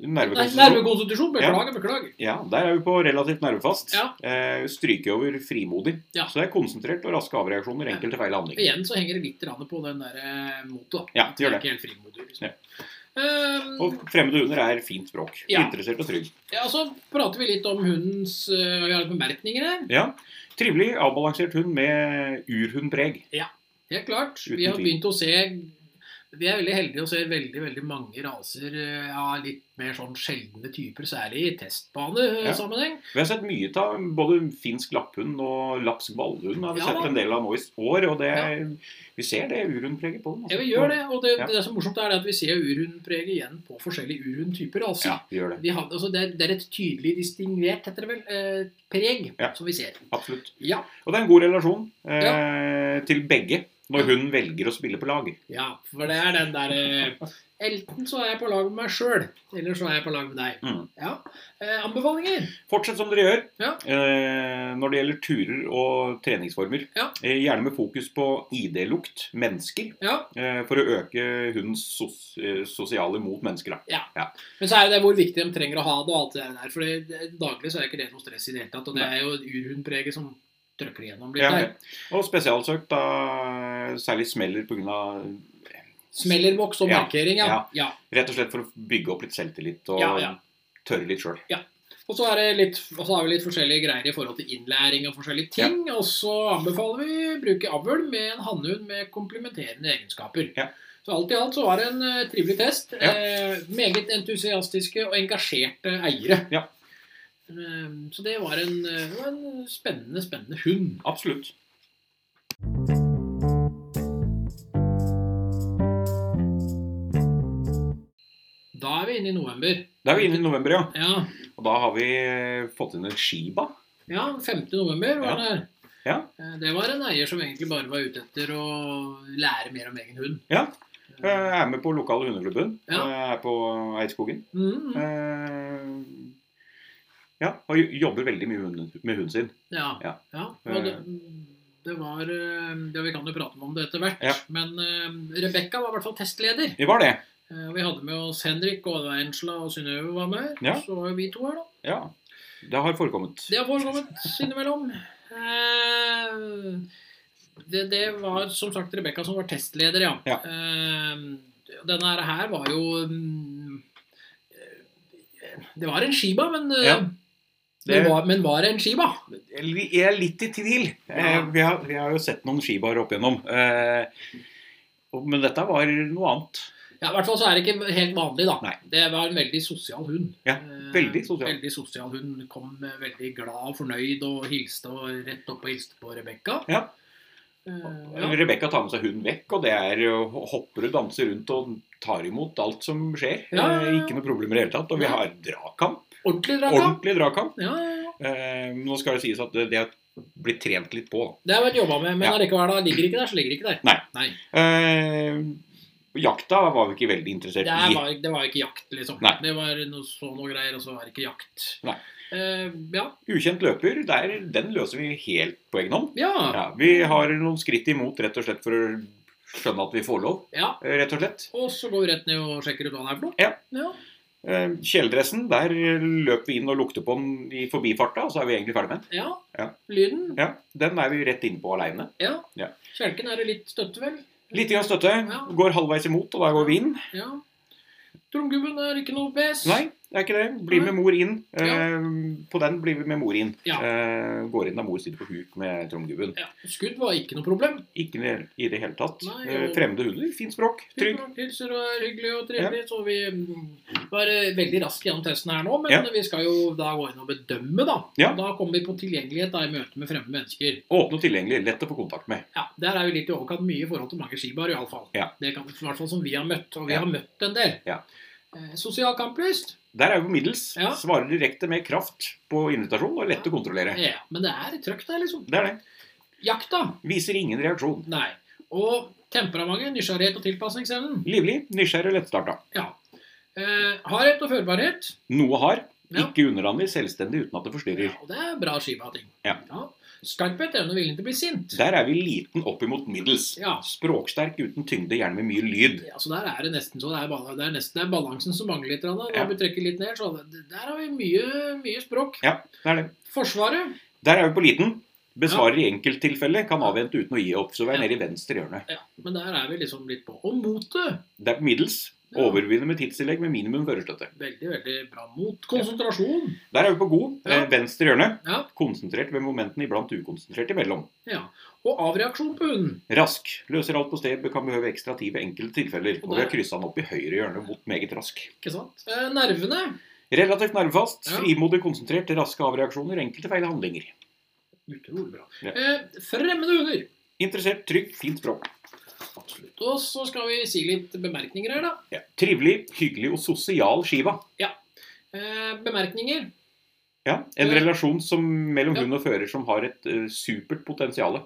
B: Nei,
A: Nervekonsentrasjon.
B: Nervekonstitusjon. Beklager, beklager.
A: Ja, der er vi på relativt nervefast.
B: Ja.
A: Eh, stryker over frimodig.
B: Ja.
A: Så det er konsentrert og raske avreaksjoner, enkelte feil handlinger.
B: Igjen så henger det litt grann på den der eh, motet. da.
A: Ja, det gjør det.
B: Ikke helt frimodig. Liksom.
A: Ja.
B: Ehm,
A: Og fremmede hunder er fint språk.
B: Ja.
A: Interessert og trygg.
B: ja, så prater vi litt om hundens eh, Vi har litt bemerkninger her.
A: Ja. Trivelig, avbalansert hund med urhundpreg.
B: Helt klart.
A: Uten
B: Vi har
A: tvil.
B: begynt å se Vi er veldig heldige og ser veldig veldig mange raser eh, av litt mer sånn sjeldne typer, særlig i
A: Ja.
B: testbanesammenheng.
A: Vi har sett mye av både finsk lapphund og lapsk ballhund har vi
B: Ja,
A: sett
B: da.
A: en del av nå i år. Og det, vi ser det urundpreget på altså. den.
B: Ja, vi gjør det, og det,
A: Ja.
B: det som er morsomt, er det at vi ser urhundpreget igjen på forskjellige urhundtyper raser.
A: Ja, vi gjør det.
B: Vi har, altså det, er, det er et tydelig distingvert heter det vel, eh, preg
A: Ja.
B: som vi ser.
A: Absolutt.
B: Ja,
A: Og det er en god relasjon eh, til begge når hun velger å spille på lag.
B: ja, for det er den der eh, Enten så er jeg på lag med meg sjøl, eller så er jeg på lag med deg.
A: Mm.
B: Ja, eh, Anbefalinger?
A: Fortsett som dere gjør
B: Ja.
A: eh, når det gjelder turer og treningsformer.
B: Ja.
A: Eh, gjerne med fokus på ID-lukt, mennesker,
B: Ja.
A: eh, for å øke hundens sos eh, sosiale mot mennesker. Da.
B: Men så er det det hvor viktig de trenger å ha det, og alt det der. For det- det- daglig så er det ikke det noe stress i det hele tatt. Og det er jo urhundpreget som trøkker igjennom litt
A: Ja.
B: der.
A: Og spesialsøkt da særlig smeller pga.
B: Smellerboks og
A: Ja.
B: markering, ja.
A: Ja.
B: ja.
A: Rett og slett for å bygge opp litt selvtillit og
B: Ja, ja.
A: tørre litt sjøl.
B: Og så er det litt, og så har vi litt forskjellige greier i forhold til innlæring og forskjellige ting. Og så anbefaler vi å bruke avl med en hannhund med komplementerende egenskaper.
A: Ja.
B: Så alt i alt så var det en eh, trivelig test.
A: Ja.
B: Eh, meget entusiastiske og engasjerte eiere.
A: Ja.
B: Eh, så det var en, eh, det var en spennende, spennende hund.
A: Absolutt.
B: Da er vi inne i november.
A: Da er vi inne i november, ja.
B: Ja,
A: Og da har vi eh, fått inn en Shiba.
B: ja 5. november var
A: Ja.
B: det her.
A: Ja.
B: Eh, Det var en eier som egentlig bare var ute etter å lære mer om egen hund.
A: Ja. Eh, Er med på lokale hundeklubben.
B: Ja.
A: Eh, Er på Eidskogen.
B: Mm, mm.
A: Eh, Ja, og jo- jobber veldig mye med hunden- med hunden sin.
B: Ja.
A: Ja. Eh.
B: ja. og det, det var eh, ja, Vi kan jo prate om det etter hvert.
A: Ja.
B: Men eh, Rebekka var i hvert fall testleder.
A: Det var det.
B: Eh, og Vi hadde med oss Henrik og Angela og Synnøve var med.
A: Ja.
B: Så var vi to her, da.
A: Ja. Det har forekommet.
B: Det har forekommet innimellom. Eh, det, det var som sagt Rebekka som var testleder, ja.
A: Ja.
B: Eh, denne her var jo mm, eh, Det var en Shiba, men eh,
A: Ja.
B: det,
A: Det-
B: var, Men var det en Shiba?
A: Jeg er litt i tvil. Eh,
B: Ja.
A: vi, har, vi har jo sett noen skibarer opp igjennom. Eh, og- men dette var noe annet.
B: Ja, I hvert fall så er det ikke helt vanlig, da.
A: Nei.
B: Det var en veldig sosial hund.
A: Ja,
B: Eh,
A: veldig sosial.
B: Veldig sosial hund. Kom eh, veldig glad og fornøyd og hilste og rett opp og hilste på Rebekka.
A: Ja.
B: Eh, ja.
A: Rebekka tar med seg hunden vekk, og det er å hopper og danser rundt og tar imot alt som skjer.
B: Ja, ja, ja.
A: Eh, Ikke noe problem i det hele tatt. Og vi har dragkamp.
B: Ordentlig dragkamp.
A: Ordentlig dragkamp.
B: Ja, ja, ja.
A: Eh, nå skal det sies at det det har blitt trent litt på. da.
B: Det har vært jobba med, men
A: Ja.
B: allikevel, da ligger ikke der, så ligger ikke der.
A: Nei.
B: Nei.
A: Eh, jakta var vi ikke veldig
B: Det,
A: interessert
B: er,
A: i.
B: var, det var ikke jakt, liksom.
A: Nei.
B: Det var noe så noe greier, og så var det ikke jakt.
A: Nei.
B: Eh, ja.
A: Ukjent løper, der, den løser vi helt på egen hånd.
B: Ja. ja.
A: Ja, vi har noen skritt imot rett og slett for å skjønne at vi får lov, eh, rett og slett.
B: Og så går vi rett ned og sjekker ut hva det er for noe.
A: Ja.
B: ja.
A: Eh, Kjeledressen, der løp vi inn og lukte på den i forbifarta, og så er vi egentlig ferdig med den.
B: Ja.
A: Ja.
B: Lyden.
A: Ja, den er vi rett inne på aleine.
B: Ja.
A: Ja.
B: Kjelken er det litt støtte, vel?
A: Litt grann støtte,
B: Ja.
A: går halvveis imot, og da går vi inn.
B: Ja. Tromgubben er ikke noe pes.
A: Nei, det er ikke det. Bli med mor inn. Eh,
B: Mm. Ja.
A: På den blir vi med mor inn.
B: Ja.
A: Eh, Går inn da mor sitter på huk med tromgubben.
B: Ja. Skudd var ikke noe problem.
A: Ikke i det hele tatt.
B: Nei,
A: Eh,
B: og-
A: Fremmede hunder, fint språk, trygg.
B: Hilser og er hyggelig og trivelig. Så vi mm, var eh, veldig raskt gjennom testen her nå, men
A: Ja.
B: vi skal jo da gå inn og bedømme, da.
A: Ja.
B: Da kommer vi på tilgjengelighet da, i møte med fremmede mennesker.
A: Åpne og tilgjengelig, lett å få kontakt med.
B: Ja, Der er jo litt i overkant mye i forhold til mange skibar, iallfall.
A: Ja.
B: Det kan, I hvert fall som vi har møtt, og vi
A: Ja.
B: har møtt en del.
A: Ja.
B: Eh, sosial kamplyst?
A: Der er vi på middels.
B: Ja.
A: Svarer direkte med kraft på invitasjon og er lett å kontrollere.
B: Ja, men det er trøkk der, liksom.
A: Det er det.
B: Jakta?
A: Viser ingen reaksjon.
B: Nei. Og temperamentet, nysgjerrighet og tilpasningsevnen?
A: Livlig, nysgjerrig og lettstarta.
B: Ja. Eh, hardhet og førbarhet?
A: Noe har.
B: Ja.
A: Ikke underlandig, selvstendig uten at det forstyrrer.
B: Ja, og det er bra skiva ting.
A: Ja.
B: Skarphet evne og viljen til å bli sint.
A: Der er vi liten opp imot middels.
B: Ja.
A: Språksterk uten tyngde, gjerne med mye lyd.
B: Ja, så Der er det nesten så det er, bal- det er, nesten, det er balansen som mangler litt. Randa. Da
A: Ja.
B: vi trekker litt ned, så det- Der har vi mye, mye språk.
A: Det er det.
B: Forsvaret.
A: Der er vi på liten. Besvarer i enkelttilfelle, kan avvente uten å gi opp. Så vi er
B: Ja.
A: nede i venstre hjørne.
B: Ja, men der er vi liksom litt på. Og motet.
A: Det er på middels.
B: Ja.
A: Overbevisende med tidstillegg med minimum førerstøtte.
B: Veldig, veldig bra mot konsentrasjon.
A: Der er vi på god.
B: Ja.
A: Eh, Venstre hjørne.
B: Ja.
A: Konsentrert ved momentene, iblant ukonsentrert imellom.
B: ja. Og avreaksjon på hunden.
A: Rask. Løser alt på sted, kan behøve ekstra tid ved enkelte tilfeller. Og vi har kryssa den opp i høyre hjørne mot meget rask.
B: Ikke sant? Eh, nervene.
A: Relativt nervefast,
B: Ja.
A: frimodig konsentrert, raske avreaksjoner, enkelte feil handlinger.
B: Utrolig bra.
A: Ja.
B: Eh, fremmede hunder.
A: Interessert, trygg, fint språk.
B: Absolutt. Og så skal vi si litt bemerkninger her, da.
A: Ja. Trivelig, hyggelig og sosial skiva.
B: Eh, bemerkninger.
A: Ja, En
B: Ja.
A: relasjon som, mellom
B: Ja.
A: hund og fører som har et eh, supert potensial.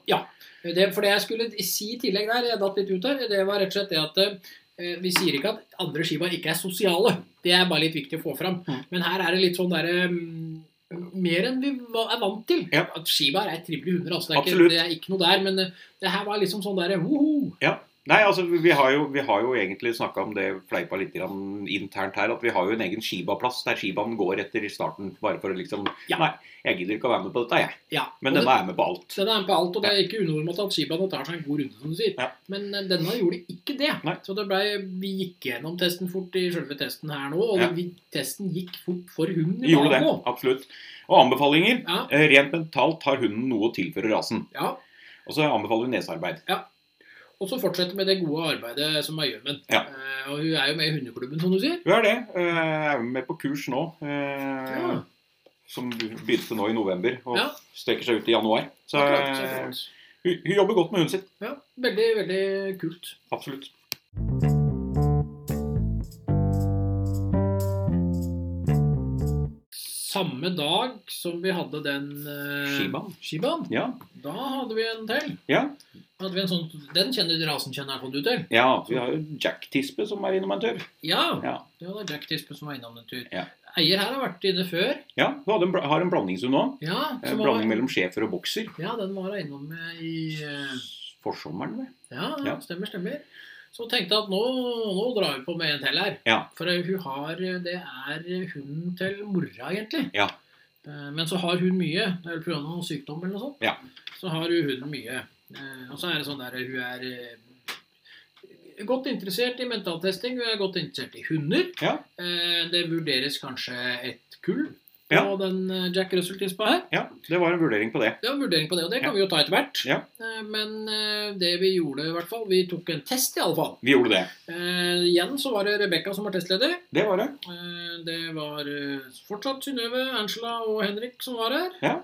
B: Det, for det jeg skulle si i tillegg der, jeg datt litt ut her, det var rett og slett det at eh, vi sier ikke at andre skibaer ikke er sosiale. Det er bare litt viktig å få fram.
A: Mm.
B: Men her er det litt sånn derre mm, mer enn vi va- er vant til.
A: Ja.
B: At Skibaer er trivelige hunder. altså. Det er,
A: Absolutt.
B: ikke, det er ikke noe der. Men eh, det her var liksom sånn derre woho.
A: Nei, altså, vi har jo, vi har jo egentlig snakka om det fleipa litt grann internt her, at vi har jo en egen skibaplass der skibaen går etter i starten. Bare for å liksom
B: Ja.
A: Nei, jeg gidder ikke å være med på dette, jeg.
B: Ja.
A: Men
B: og
A: denne er med på alt.
B: Den er på alt, og det er ikke unormalt at skibaene tar seg en god runde, som du sier.
A: Ja.
B: Men eh, denne gjorde ikke det.
A: Nei.
B: Så det ble, vi gikk gjennom testen fort i selve testen her nå, og
A: Ja.
B: vi, testen gikk fort for hunden i
A: Gjorde det.
B: bakpå.
A: Absolutt. Og anbefalinger.
B: Ja.
A: Eh, Rent mentalt har hunden noe å tilføre rasen.
B: Ja.
A: Og så anbefaler vi nesearbeid.
B: Og så fortsette med det gode arbeidet som er Gjømen.
A: Ja.
B: Eh, og hun er jo med i hundeklubben, som du sier.
A: Hun er det. Eh, er med på kurs nå. eh,
B: Ja,
A: Som begynte nå i november og
B: Ja.
A: strekker seg ut i januar. Så,
B: akkurat, så
A: eh,
B: flott.
A: hun, hun jobber godt med hunden sin.
B: ja, veldig, veldig kult.
A: Absolutt.
B: Samme dag som vi hadde den eh,
A: Skibaen.
B: skibaen,
A: Ja.
B: da hadde vi en til.
A: Ja.
B: Hadde vi en sånn, den kjenner rasen kjenner jeg du til.
A: ja. Vi har jo Jack-tispe som er innom en tur.
B: Ja,
A: Ja.
B: det var Jack Tispe som var innom en tur.
A: Ja.
B: Eier her har vært inne før.
A: ja. Hun hadde en, bla- har en blandingshund nå.
B: Ja,
A: Eh,
B: som var-
A: Blanding mellom schæfer og bokser.
B: Ja, den var jeg innom eh, i eh,
A: Forsommeren, vel.
B: Ja,
A: Ja.
B: stemmer, stemmer. Så tenkte jeg at nå, nå drar vi på med en til her.
A: Ja.
B: For hun har, det er hunden til mora, egentlig.
A: Ja.
B: Eh, Men så har hun mye. Det er vel pga. noen sykdom eller noe sånt.
A: Ja.
B: Så har hun hunden mye. Eh, Og så er det sånn der hun er eh, godt interessert i mentaltesting. Hun er godt interessert i hunder.
A: Ja.
B: Eh, Det vurderes kanskje et kull på
A: Ja.
B: den eh, Jack Russell-tispa her.
A: Ja, det var en vurdering på det.
B: Det var en vurdering på det, og det kan
A: Ja.
B: vi jo ta etter hvert.
A: Ja.
B: Eh, Men eh, det vi gjorde, i hvert fall Vi tok en test, iallfall.
A: Vi gjorde det.
B: Eh, igjen så var det Rebekka som var testleder.
A: Det var det.
B: Eh, det var eh, fortsatt Synnøve, Angela og Henrik som var her.
A: Ja.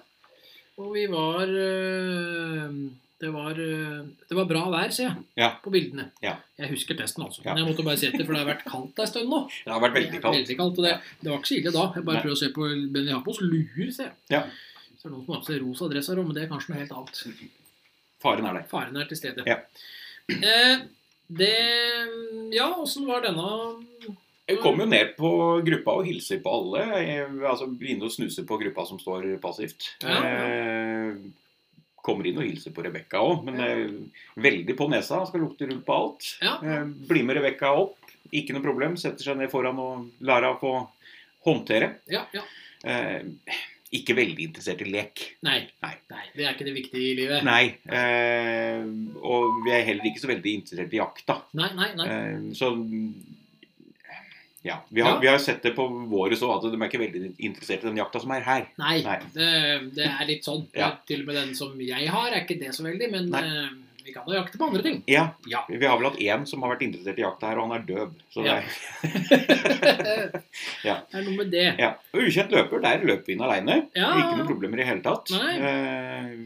B: Og vi var eh, det, var eh, det var bra vær, ser jeg,
A: Ja.
B: på bildene.
A: Ja.
B: Jeg husker testen, altså.
A: Ja.
B: Men jeg måtte bare se etter, for det har vært kaldt ei stund nå.
A: Det har vært veldig kaldt.
B: og det, det var ikke så ille da. Jeg bare
A: Nei.
B: prøver å se på Benny har på oss luer, ser jeg.
A: Ja.
B: Så er det noen som har på seg rosa dress her òg, men det er kanskje noe helt annet.
A: Faren er der.
B: Faren er til stede.
A: Ja.
B: Eh, det Ja, åssen var denne
A: Jeg kommer jo
B: Mm.
A: ned på gruppa og hilser på alle. Jeg, altså Inne og snuser på gruppa som står passivt.
B: Ja,
A: Eh, kommer inn og hilser på Rebekka òg, men
B: Ja.
A: eh, veldig på nesa. Skal lukte rundt på alt.
B: Ja.
A: Eh, blir med Rebekka opp. Ikke noe problem. Setter seg ned foran og lar henne få håndtere.
B: Ja, ja.
A: Eh, ikke veldig interessert i lek.
B: Nei.
A: Nei.
B: Det er ikke det viktige i livet.
A: Nei. Eh, og vi er heller ikke så veldig interessert i jakta.
B: Nei, nei, nei.
A: Eh, Så ja, vi har,
B: Ja.
A: vi har sett det på våre så at de er ikke veldig interessert i den jakta som er her.
B: nei.
A: Nei.
B: Det, det er litt sånn.
A: Ja.
B: Til og med den som jeg har, er ikke det så veldig, men
A: Nei.
B: eh, vi kan da jakte på andre ting.
A: Ja,
B: Ja.
A: Vi har vel hatt én som har vært interessert i jakta her, og han er døv. Så det
B: Ja.
A: er,
B: det
A: Ja.
B: er noe med det.
A: ja. Og Ukjent løper, der løper vi inn aleine.
B: Ja.
A: Ikke noen problemer i hele tatt.
B: Ah. Nei.
A: Eh,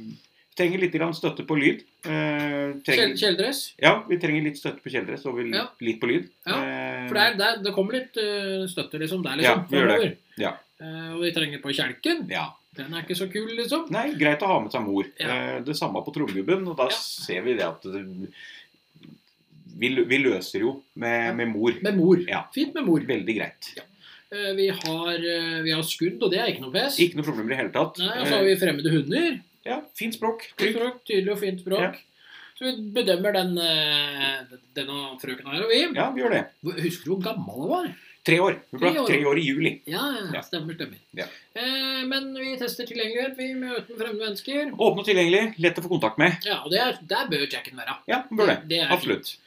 A: trenger litt grann støtte på lyd. Eh,
B: Kjel-
A: trenger,
B: Kjeledress.
A: ja, vi trenger litt støtte på kjeledress og vi,
B: Ja.
A: litt på lyd.
B: Ja,
A: Eh,
B: For det, er, der- det kommer litt eh, støtte liksom der,
A: Ja,
B: liksom.
A: vi gjør det.
B: fremover.
A: Ja.
B: Eh, og vi trenger på kjelken.
A: ja.
B: Den er ikke så kul, liksom.
A: Nei, greit å ha med seg mor.
B: Ja.
A: Eh, Det samme på trommegubben. Og da
B: Ja.
A: ser vi det at det, vi, lø- vi løser jo med,
B: Ja.
A: med mor.
B: Med mor.
A: Ja.
B: Fint med mor.
A: Veldig greit.
B: Eh, Vi har, eh, vi har skudd, og det er ikke noe pes.
A: Ikke noe problemer i hele tatt.
B: Nei, Og så har vi fremmede hunder.
A: Eh, ja, Fint språk.
B: Fint
A: Eh, Trygg.
B: språk, tydelig og fint språk.
A: Ja.
B: Så vi bedømmer den, eh, denne frøken her, og vi
A: Ja, vi gjør det.
B: Husker du hvor gammel hun var?
A: Tre år. Hun ble
B: Tre år.
A: tre år i juli.
B: Ja,
A: Ja.
B: stemmer, stemmer.
A: Ja.
B: Eh, men vi tester tilgjengelighet. Vi møter fremmede mennesker.
A: Åpen og tilgjengelig. Lett å få kontakt med.
B: Ja, og det er, der bør Jacken være.
A: Ja, hun bør det.
B: det er
A: Absolutt.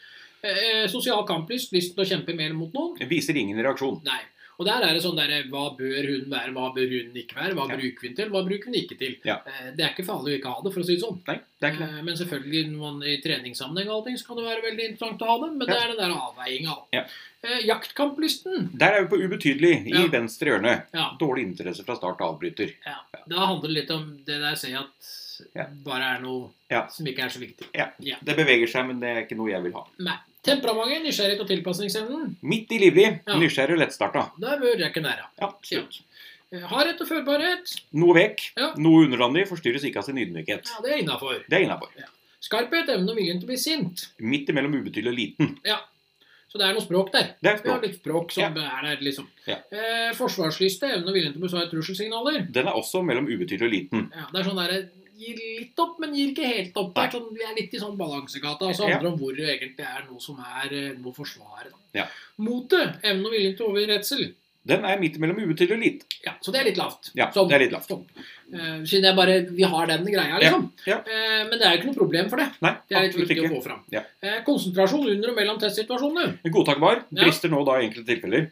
B: fint. Eh, sosial kamplyst, lyst til å kjempe mer mot noen.
A: Viser ingen reaksjon.
B: Nei. Og der er det sånn derre Hva bør hun være, hva bør hun ikke være? Hva
A: Ja.
B: bruker hun til, hva bruker hun ikke til?
A: Ja.
B: Eh, Det er ikke farlig å ikke ha det, for å si det sånn.
A: Nei, det er ikke det.
B: Eh, Men selvfølgelig når man i treningssammenheng og allting, så kan det være veldig interessant å ha det. Men
A: Ja.
B: det er den der avveininga.
A: Ja.
B: Eh, jaktkamplysten,
A: Der er vi på ubetydelig i
B: Mm. Ja.
A: venstre hjørne.
B: ja,
A: Dårlig interesse fra start avbryter.
B: ja. Da handler det litt om det der jeg sier at
A: Ja.
B: bare er noe
A: Ja.
B: som ikke er så viktig.
A: Det beveger seg, men det er ikke noe jeg vil ha.
B: Nei. Temperamentet, nysgjerrighet og tilpasningsevnen,
A: Midt i livlig,
B: Ja.
A: nysgjerrig og lettstarta.
B: der bør jeg ikke nære.
A: Ja, absolutt.
B: Eh, Hardhet og førbarhet,
A: Noe vekk,
B: Ja.
A: noe underlandig, forstyrres ikke av sin ydmykhet.
B: ja, det er innafor.
A: Det er innafor.
B: Skarphet, evne og viljen til å bli sint.
A: Midt imellom ubetydelig og liten.
B: Så det er noe språk der.
A: Det er
B: Vi har
A: språk.
B: litt språk som er der, liksom.
A: Ja.
B: Eh, forsvarslyste, evne og viljen til å besvare trusselsignaler.
A: Den er også mellom ubetydelig og liten.
B: Ja, det er sånn derre Gir litt opp, men gir ikke helt opp. Det er sånn, vi er litt i sånn balansegata. Altså handler om hvor det egentlig er noe som er eh, noe å forsvare. da.
A: Ja.
B: Motet, evne og viljen til å overgi redsel.
A: Den er midt imellom ubetydelig og liten.
B: Ja, så det er litt lavt.
A: Ja,
B: Sånn.
A: det er litt lavt.
B: Sånn. Eh, siden jeg bare Vi har den greia, liksom.
A: Ja,
B: Eh, men det er jo ikke noe problem for det.
A: Nei,
B: Det er litt
A: absolutt
B: viktig
A: ikke.
B: å få fram.
A: Ja.
B: Eh, konsentrasjon under og mellom testsituasjonene.
A: Godtakbar.
B: Ja.
A: Brister nå da i enkelte tilfeller.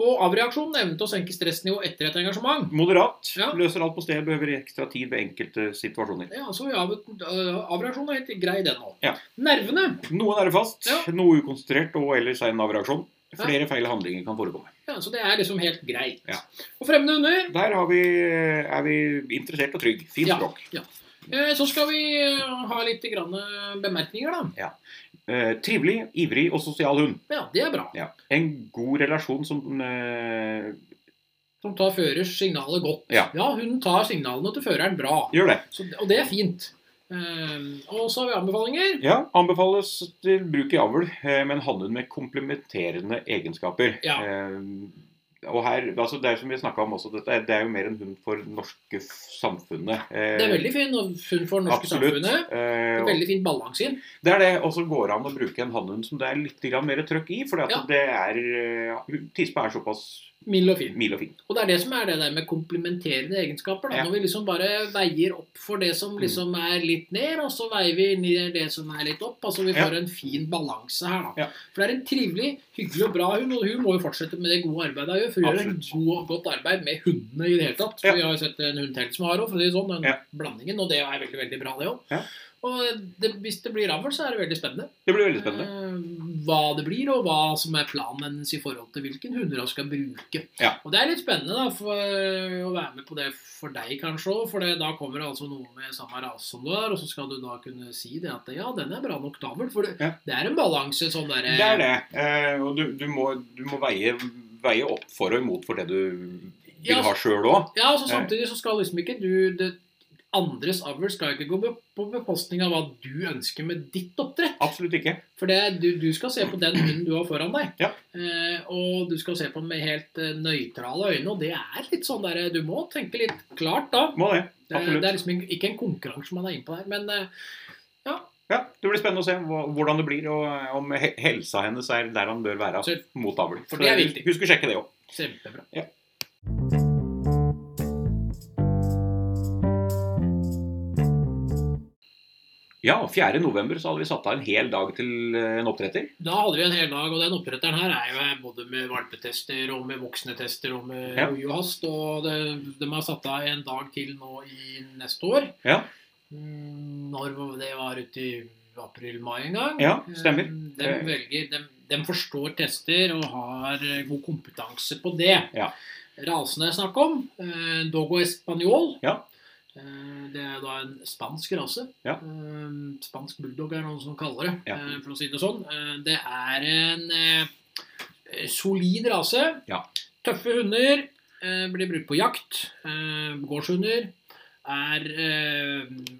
B: Og avreaksjon, evne til å senke stressnivå etter et engasjement.
A: Moderat.
B: Ja.
A: Løser alt på stedet, behøver ekstra tid ved enkelte situasjoner.
B: Ja, så av, avreaksjonen eh, er helt grei, den òg.
A: Ja.
B: Nervene.
A: Noen er det fast,
B: Ja.
A: noe ukonsentrert og ellers er en avreaksjon. Flere feil handlinger kan forekomme.
B: Ja, så det er liksom helt greit.
A: Ja.
B: Og fremmede hunder.
A: Der har vi, er vi interessert og trygg. Fint
B: Ja.
A: språk.
B: Eh, så skal vi eh, ha litt grann eh, bemerkninger, da.
A: Eh, trivelig, ivrig og sosial hund.
B: Ja, det er bra.
A: Ja. En god relasjon som eh,
B: Som tar førers signaler godt.
A: Ja.
B: hun tar signalene til føreren bra.
A: gjør det.
B: Så, og det er fint. Eh, og så har vi anbefalinger.
A: Ja, Anbefales til bruk i avl eh, med en hannhund med komplementerende egenskaper.
B: Ja.
A: Eh, og her, altså Det er som vi snakket om også, dette, er- det er jo mer en hund for norske f- samfunnet. Eh,
B: Det er veldig fin og funn for det norske
A: absolutt.
B: samfunnet. Det
A: Eh,
B: er
A: og
B: Veldig fin balanse inn.
A: det er det. Og så går det an å bruke en hannhund som det er litt grann mer trøkk i. For
B: Ja.
A: det er eh, tispa er såpass
B: Mild og fin.
A: mild og fin.
B: Og det er det som er det der med komplementerende egenskaper. Da.
A: Ja. Mm.
B: Når vi liksom bare veier opp for det som liksom er litt ned, og så veier vi ned det som er litt opp. Altså vi
A: Ja.
B: får en fin balanse her, da.
A: Ja.
B: For det er en trivelig, hyggelig og bra hund, og hun må jo fortsette med det gode arbeidet hun gjør. For hun gjør en
A: Absolutt.
B: god, godt arbeid med hundene i det hele tatt.
A: Ja.
B: Vi har jo sett en hund til som har òg, for å si det sånn. Den
A: Ja.
B: blandingen. Og det er veldig, veldig bra, det òg.
A: Ja.
B: Og det, hvis det blir avl, så er det veldig spennende.
A: Det blir veldig spennende.
B: Eh, Hva det blir, og hva som er planen hennes i forhold til hvilken hunder hun skal bruke.
A: Ja.
B: Og det er litt spennende da, for eh, å være med på det for deg, kanskje òg. For det, da kommer det altså noe med samme rase som du er, og så skal du da kunne si det at ja, den er bra nok tavel. For det,
A: Ja.
B: det er en balanse sånn derre
A: Det er det. Eh, og du, du, må, du må veie, veie opp for og imot for det du vil
B: Ja,
A: ha sjøl òg.
B: Ja, altså samtidig så skal liksom ikke du det, Andres avl skal ikke gå be- på bekostning av hva du ønsker med ditt oppdrett.
A: Absolutt ikke.
B: For det, du, du skal se på den hunden du har foran deg.
A: Ja.
B: Eh, og du skal se på den med helt eh, nøytrale øyne. Og det er litt sånn der Du må tenke litt klart da. Eh,
A: Må det.
B: Det, er-
A: Absolutt.
B: det er liksom ikke- ikke en konkurranse man er inne på der. Men eh,
A: Ja, Det blir spennende å se hva- hvordan det blir, og eh, om he- helsa hennes er der han bør være
B: Absolutt.
A: mot avl.
B: For det er viktig.
A: Husk å sjekke det òg.
B: kjempebra.
A: Ja. Ja, 4. november så hadde vi satt av en hel dag til eh, en oppdretter.
B: Da hadde vi en hel dag, og den oppretteren her er jo her både med valpetester og med voksne tester og med
A: Ja.
B: rojo hast. Og det, de har satt av en dag til nå i neste år.
A: Ja.
B: Mm, Når var det var ute i april-mai en gang.
A: Ja, stemmer. Eh.
B: De, Mm, velger, de, de forstår tester og har eh, god kompetanse på det.
A: Ja.
B: Rasene jeg snakker om, eh, Dogo Español.
A: Ja.
B: Eh, Det er da en spansk rase.
A: Ja.
B: Eh, Spansk bulldog er noen som kaller det,
A: Ja.
B: eh, for å si det sånn. Eh, Det er en eh, solid rase.
A: Ja.
B: Tøffe hunder. eh, Blir brukt på jakt. eh, Gårdshunder. Er eh,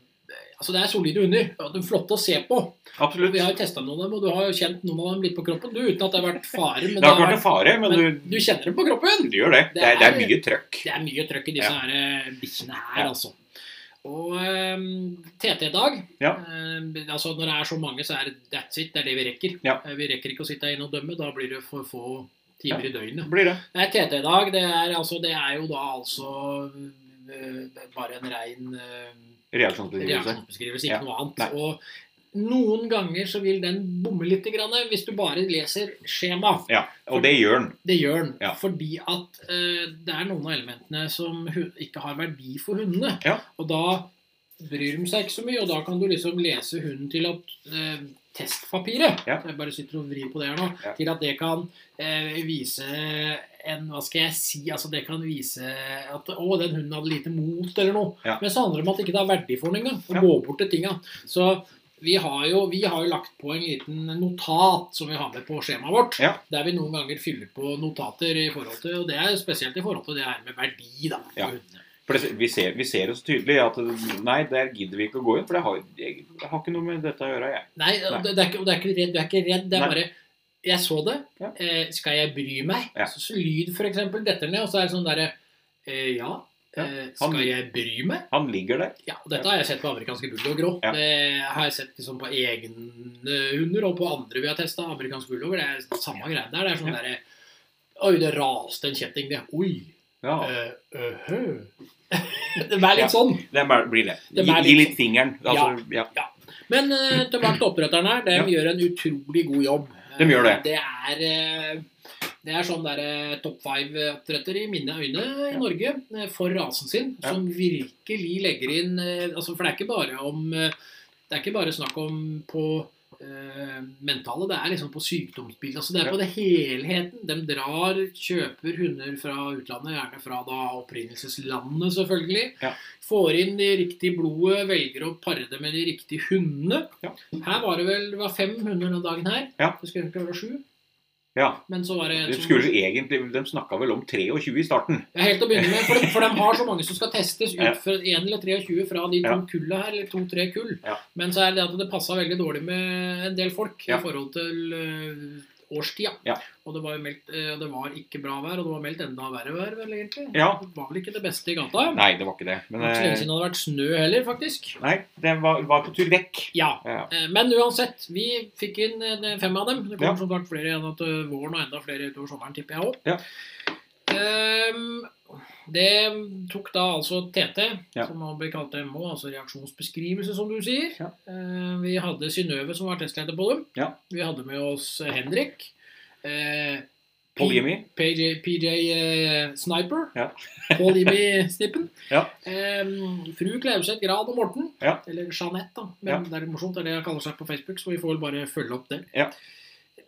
B: Altså, det er solide hunder. og De er flotte å se på.
A: Absolutt.
B: Vi har testa noen av dem, og du har jo kjent noen av dem litt på kroppen. Du, uten at det har vært fare. Men
A: det har ikke vært en fare, men,
B: men
A: du,
B: du kjenner dem på kroppen!
A: du gjør det. Det er, det er
B: Det er-
A: mye trøkk.
B: Det er mye trøkk i disse
A: Ja.
B: her, eh, bikkjene her,
A: Ja.
B: altså. Og ehm, TT-dag
A: Ja.
B: ehm, altså Når det er så mange, så er det that's it. Det er det vi rekker.
A: Ja.
B: Eh, Vi rekker ikke å sitte her inne og dømme. Da blir det for få timer i døgnet.
A: Blir det.
B: Nei, TT-dag, det, er altså, det er jo da altså eh, bare en eh, rein eh,
A: Reaksjonsbeskrivelse.
B: reaksjonsbeskrivelse,
A: Ja.
B: ikke noe annet.
A: Nei.
B: Og noen ganger så vil den bomme litt grann, hvis du bare leser skjema.
A: Ja, og det gjør den.
B: Det gjør den.
A: Ja.
B: Fordi at eh, det er noen av elementene som hu- ikke har verdi for hundene.
A: Ja.
B: Og da bryr de seg ikke så mye, og da kan du liksom lese hunden til at eh, testpapiret
A: Ja.
B: Jeg bare sitter og vrir på det her nå.
A: Ja.
B: Til at det kan eh, vise en Hva skal jeg si? Altså det kan vise at å, den hunden hadde lite mot, eller noe.
A: Ja.
B: Men så handler det om at det ikke er verdi for den engang. Å
A: Ja.
B: gå bort til tinga. Så vi har, jo, vi har jo lagt på en liten notat som vi har med på skjemaet vårt der vi noen ganger fyller på notater i forhold til, og det er spesielt i forhold til det her med verdi, da. for
A: Ja.
B: hundene.
A: For det, vi, ser, vi ser jo så tydelig at det- nei, der gidder vi ikke å gå inn, for det har, jeg, jeg har ikke noe med dette å gjøre, jeg.
B: Nei,
A: Nei.
B: Det, det er ikke, og det er ikke redd, du er ikke redd, det er
A: Nei.
B: bare Jeg så det.
A: Ja.
B: Eh, skal jeg bry meg?
A: Ja.
B: Så, så lyd, for eksempel, detter ned, og så er det sånn derre eh, Ja.
A: Ja.
B: Eh, skal
A: Han-
B: jeg bry meg?
A: Han ligger der.
B: Ja, og Dette har jeg sett på amerikanske bulldogger òg.
A: Ja.
B: Det har jeg sett liksom på egne hunder og på andre vi har testa. Amerikanske bulldogger. Det er samme greia der. Det er sånn
A: Ja.
B: derre Oi, det raste en kjetting, det. Oi.
A: Ja,
B: Eh, øhø. [laughs] det var
A: Ja.
B: litt sånn.
A: det er bare- blir det.
B: Det er
A: Gi,
B: bare
A: gi
B: litt-
A: litt fingeren. Altså, ja.
B: Men eh, tilbake til oppdretteren her. De
A: Ja.
B: gjør en utrolig god jobb.
A: De gjør det.
B: Eh, Det er, eh, det er sånn der eh, topp five-oppdretter i mine øyne i
A: Ja.
B: Norge eh, for rasen sin,
A: Ja.
B: som virkelig legger inn eh, altså, For det er ikke bare om eh, Det er ikke bare snakk om på eh, mentale, det er liksom på sykdomsbildet. Altså, det er
A: Ja.
B: på det helheten. De drar, kjøper hunder fra utlandet, gjerne fra da opprinnelseslandet, selvfølgelig.
A: Ja.
B: Får inn de riktige blodet, velger å pare det med de riktige hundene.
A: Ja.
B: Her var det vel det var fem hunder den dagen her.
A: Ja.
B: Det skulle egentlig være sju,
A: ja.
B: men så var det en
A: De
B: som-
A: skulle egentlig, de snakka vel om 23 i starten.
B: ja, Helt til å begynne med, for de, for de har så mange som skal testes
A: Ja.
B: ut fra 1 eller 23 fra de to
A: Ja.
B: kulla her, eller to-tre kull.
A: Ja.
B: Men så er det at det passa veldig dårlig med en del folk
A: Ja.
B: i forhold til øh, årstida.
A: Ja.
B: Og det var, jo meldt, øh, det var ikke bra vær, og det var meldt enda verre vær, vel egentlig.
A: Ja.
B: Det var vel ikke det beste i gata.
A: Nei, det var ikke det.
B: Det
A: Men
B: var ikke så lenge
A: eh,
B: siden det hadde vært snø heller, faktisk.
A: nei, den var, var på tur vekk.
B: Ja.
A: Ja.
B: Eh, Men uansett, vi fikk inn eh, fem av dem. Det kommer
A: Ja.
B: som sagt flere igjen til våren og enda flere utover sommeren, tipper jeg òg.
A: Ja.
B: det tok da altså TT,
A: Ja.
B: som nå blir kalt MO, altså reaksjonsbeskrivelse, som du sier.
A: Ja.
B: Eh, vi hadde Synnøve, som var testleder på dem.
A: Ja.
B: Vi hadde med oss Henrik. Eh,
A: Paul Jimmy.
B: PJ, PJ eh, Sniper.
A: Ja.
B: [laughs] Paul Jimmy Snippen.
A: Ja.
B: Ehm, fru Klauseth Gran og Morten.
A: Ja.
B: Eller Jeanette, da. Men
A: Ja.
B: det er litt morsomt, det er det jeg kaller seg på Facebook, så vi får vel bare følge opp det.
A: Ja.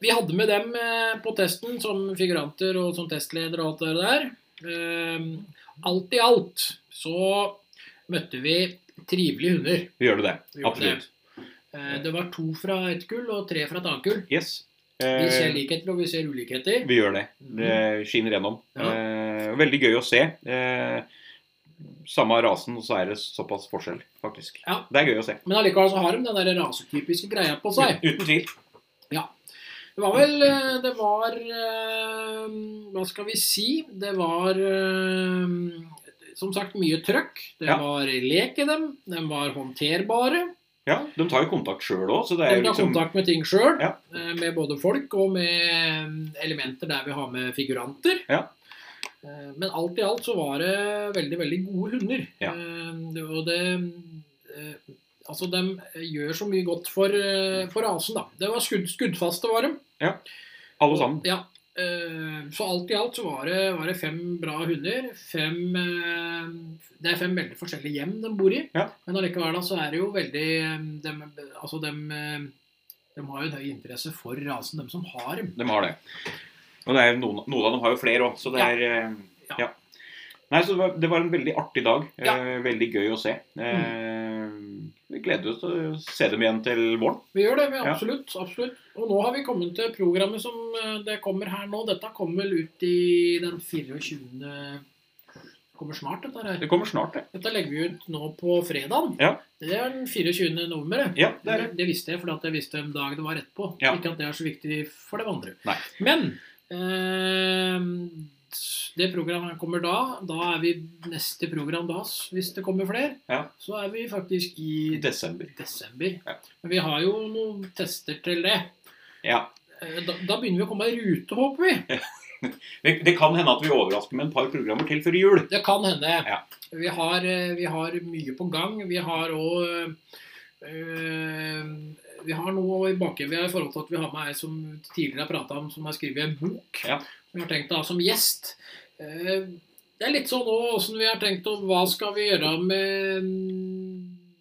B: Vi hadde med dem eh, på testen som figuranter og som testleder og alt det der. Ehm, alt i alt så møtte vi trivelige hunder.
A: Vi gjør det. det.
B: Vi gjorde det.
A: Absolutt.
B: Eh, det var to fra ett kull og tre fra et annet kull.
A: Yes.
B: Vi ser
A: Eh,
B: likheter, og vi ser ulikheter.
A: Vi gjør det. Det skinner gjennom.
B: Ja.
A: Eh, veldig gøy å se. Eh, samme rasen, og så er det såpass forskjell, faktisk.
B: Ja.
A: Det er gøy å se.
B: Men allikevel så har de den der rasetypiske greia på seg.
A: Uten tvil.
B: Det var vel eh, Det var eh, Hva skal vi si? Det var eh, som sagt mye trøkk. Det
A: Ja.
B: var lek i dem. De var håndterbare.
A: Ja, De tar jo kontakt sjøl òg, så det
B: De
A: er jo
B: tar
A: liksom
B: kontakt med ting sjøl.
A: Ja.
B: eh, Med både folk og med eh, elementer der vi har med figuranter.
A: Ja.
B: Eh, Men alt i alt så var det veldig, veldig gode hunder.
A: Ja.
B: Eh, det- Og det eh, Altså, de gjør så mye godt for, eh, for rasen, da. Det var skudd, skuddfaste, var de.
A: alle sammen.
B: Ja. eh, Så alt i alt så var det, var det fem bra hunder. Fem, eh, det er fem veldig forskjellige hjem de bor i.
A: Ja.
B: Men allikevel da, så er det jo veldig eh, dem, Altså, dem, eh, dem har jo en høy interesse for rasen, dem som har dem.
A: De har det. Og det er noen, noen av dem har jo flere òg, så det
B: Ja.
A: er eh,
B: Ja.
A: ja. Nei, så det var, det var en veldig artig dag.
B: Ja.
A: Eh, veldig gøy å se. Eh, vi gleder oss til å se dem igjen til våren.
B: Vi gjør det, vi,
A: Ja.
B: absolutt. absolutt. Og nå har vi kommet til programmet som eh, det kommer her nå. Dette kommer vel ut i den 24. Det kommer snart, dette her.
A: Det kommer snart, det.
B: Dette legger vi ut nå på fredagen.
A: Ja.
B: Det er den 24. november. det.
A: Ja, det
B: Det,
A: er det.
B: det visste jeg, for jeg visste en dag det var rett på.
A: Ja.
B: Ikke at det er så viktig for de andre.
A: Nei.
B: Men eh, det programmet kommer da. Da er vi neste program da, hvis det kommer flere.
A: Ja.
B: Så er vi faktisk i
A: I desember.
B: desember.
A: Ja.
B: Men vi har jo noen tester til det.
A: Ja.
B: Eh, Da, da begynner vi å komme i rute, håper vi.
A: Det, det kan hende at vi overrasker med et par programmer til før jul.
B: Det kan hende.
A: Ja.
B: Vi, har, eh, vi har mye på gang. Vi har òg Eh, vi har noe i bakhodet i forhold til at vi har med ei som tidligere har prata om, som har skrevet en bok.
A: Ja.
B: Vi har tenkt å ha som gjest. Eh, det er litt sånn òg åssen vi har tenkt om hva skal vi gjøre med mm,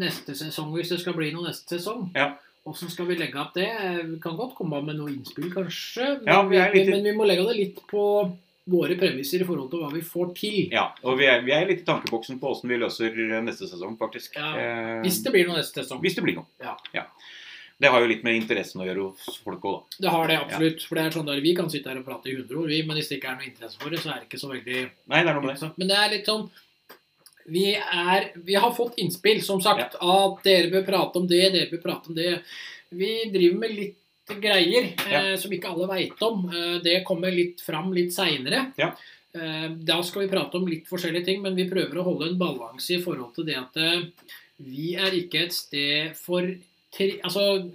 B: neste sesong, hvis det skal bli noe neste sesong.
A: Ja.
B: Åssen skal vi legge opp det? Vi kan godt komme med noe innspill, kanskje. Men,
A: Ja, vi
B: vi
A: er litt i-
B: men vi må legge det litt på våre premisser i forhold til hva vi får til.
A: Ja, og vi er, vi er litt i tankeboksen på åssen vi løser eh, neste sesong, faktisk.
B: Ja,
A: Eh,
B: Hvis det blir noe neste sesong.
A: hvis det blir noe.
B: Ja.
A: Det har jo litt med interessen å gjøre hos folk òg, da.
B: Det har det absolutt. For det er sånn der, Vi kan sitte her og prate i 100 år, vi, men hvis det ikke er noe interesse for det, så er det ikke så veldig
A: Nei, det er noe med det.
B: interessant. Men det er litt sånn vi, er, vi har fått innspill, som sagt. At dere bør prate om det, dere bør prate om det. Vi driver med litt greier eh, som ikke alle veit om. Eh, det kommer litt fram litt seinere.
A: Ja.
B: Eh, da skal vi prate om litt forskjellige ting, men vi prøver å holde en balanse i forhold til det at eh, vi er ikke et sted for tre, Altså,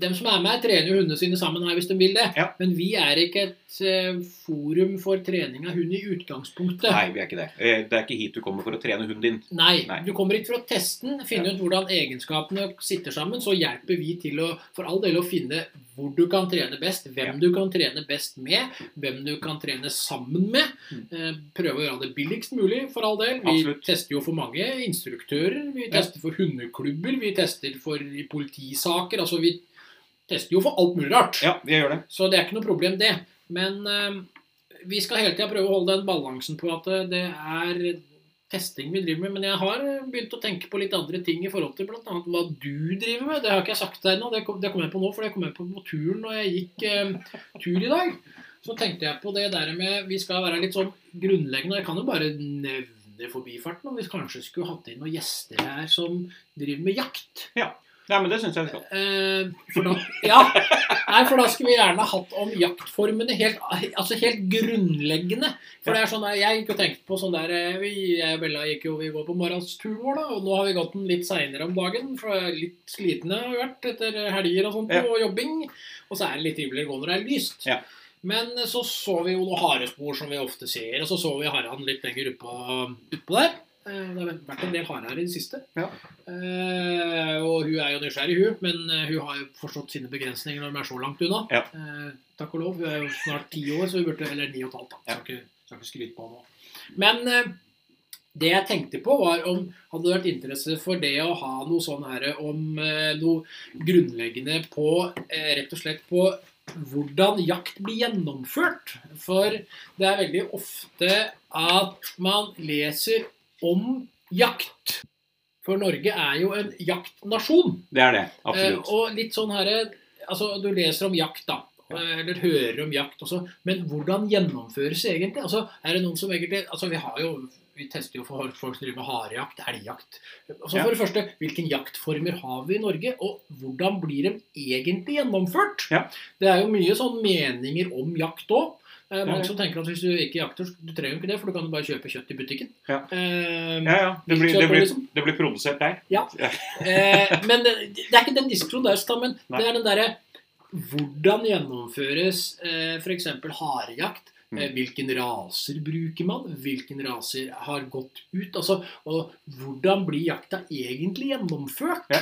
B: dem som er med, trener jo hundene sine sammen her hvis de vil det.
A: Ja.
B: Men vi er ikke et eh, forum for trening av hund i utgangspunktet.
A: Nei, vi er ikke det. Eh, Det er ikke hit du kommer for å trene hunden din.
B: Nei,
A: Nei.
B: du kommer hit for å teste den, finne ut hvordan egenskapene sitter sammen. Så hjelper vi til å for all del å finne hvor du kan trene best, hvem
A: Ja.
B: du kan trene best med, hvem du kan trene sammen med.
A: Mm.
B: Eh, Prøve å gjøre det billigst mulig, for all del. Vi
A: Absolutt.
B: tester jo for mange instruktører. Vi
A: Ja.
B: tester for hundeklubber, vi tester for politisaker. Altså, vi tester jo for alt mulig rart.
A: Ja, vi gjør det.
B: Så det er ikke noe problem, det. Men eh, vi skal hele tida prøve å holde den balansen på at eh, det er testing vi driver med. Men jeg har eh, begynt å tenke på litt andre ting i forhold til bl.a. hva du driver med. Det har ikke jeg sagt deg ennå. Det kom, det kom jeg på nå, for det kom jeg på på turen når jeg gikk eh, tur i dag. Så tenkte jeg på det der med Vi skal være litt sånn grunnleggende. og Jeg kan jo bare nevne i forbifarten om vi kanskje skulle hatt inn noen gjester her som driver med jakt.
A: Nei, men det syns jeg vi skal.
B: Eh, for da, ja. Nei, for da skulle vi gjerne hatt om jaktformene helt, altså helt grunnleggende. For det er sånn der, Jeg gikk og tenkte på sånn der eh, vi, Jeg og Bella gikk jo vi går på morgensturen vår, da. Og nå har vi gått den litt seinere om dagen, for jeg er litt slitne har vi vært etter helger og sånt
A: Ja.
B: og jobbing. Og så er det litt triveligere å gå når det er lyst.
A: Ja.
B: Men så så vi jo noen harespor, som vi ofte ser. Og så så vi haren litt lenger utpå utpå der. Eh, Det har vært en del hare her i det siste.
A: Ja.
B: Eh, og hun er jo nysgjerrig, hun. Men eh, hun har jo forstått sine begrensninger når de er så langt unna.
A: Ja.
B: Eh, takk og lov. Hun er jo snart ti år, så hun burde Eller ni og et halvt, da.
A: Ja.
B: Skal, ikke, skal ikke skryte på henne nå. Men eh, det jeg tenkte på, var om hadde det vært interesse for det å ha noe sånn her om eh, noe grunnleggende på eh, Rett og slett på hvordan jakt blir gjennomført. For det er veldig ofte at man leser om jakt. For Norge er jo en jaktnasjon.
A: Det er det.
B: Eh,
A: Absolutt.
B: og litt sånn her altså, Du leser om jakt, da.
A: Ja.
B: eh, Eller hører om jakt også. Men hvordan gjennomføres det egentlig? Altså, er det noen som egentlig Altså, vi har jo vi tester jo for folk som driver med harejakt, elgjakt. Altså
A: Ja.
B: For det første, hvilke jaktformer har vi i Norge, og hvordan blir de egentlig gjennomført?
A: Ja.
B: Det er jo mye sånn meninger om jakt òg. Det er
A: Ja, ja.
B: mange som tenker at hvis du ikke jakter, så- du trenger jo ikke det, for du kan jo bare kjøpe kjøtt i butikken.
A: Ja.
B: Eh,
A: Ja, ja. Det blir, det,
B: Kjøper,
A: blir,
B: liksom.
A: det blir produsert der.
B: Eh, men det, det er ikke den diskusjonen der, Stam, men
A: Nei.
B: det er den derre Hvordan gjennomføres eh, f.eks. harejakt? Eh,
A: Mm.
B: hvilken raser bruker man? Hvilken raser har gått ut? Altså, og hvordan blir jakta egentlig gjennomført?
A: Ja.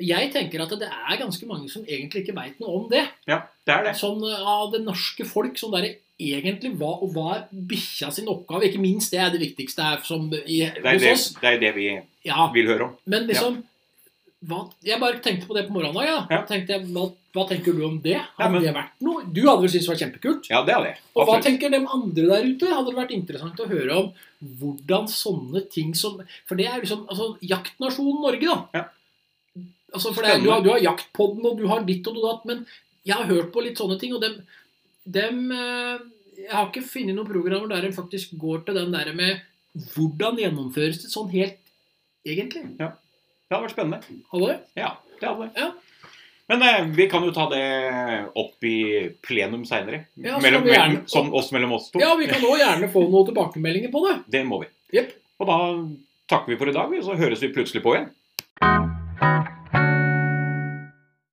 B: Jeg tenker at det er ganske mange som egentlig ikke veit noe om det.
A: Ja, det er det.
B: Sånn eh, av det norske folk som der egentlig hva og hva er bikkja sin oppgave? Ikke minst, det er det viktigste her som i,
A: Det er
B: hos
A: det,
B: oss.
A: det er det vi
B: Ja,
A: vil høre om.
B: men liksom hva, Jeg bare tenkte på det på morgenen. Ja.
A: Ja.
B: Da Tenkte jeg, hva, hva tenker du om det? Hadde
A: men-
B: det vært noe? Du hadde vel syntes det var kjempekult?
A: Ja, det er det.
B: Og hva
A: Absolutt.
B: tenker de andre der ute? Hadde det vært interessant å høre om hvordan sånne ting som For det er liksom altså, jaktnasjonen Norge, da.
A: Ja.
B: Altså, for det, er- du, har, du har jaktpodden, og du har ditt og du datt, men jeg har hørt på litt sånne ting, og dem, dem eh, Jeg har ikke funnet noen programmer der en faktisk går til den der med hvordan gjennomføres det sånn helt egentlig?
A: Det hadde vært spennende.
B: Hallo?
A: Ja, det hadde det.
B: Ja.
A: Men eh, vi kan jo ta det opp i plenum seinere.
B: Ja, så kan
A: mellom,
B: vi gjerne-
A: mellom- som oss mellom oss to.
B: Ja, vi kan òg gjerne få noen tilbakemeldinger på det.
A: Det må vi.
B: Jep.
A: Og da takker vi for i dag, vi, så høres vi plutselig på igjen.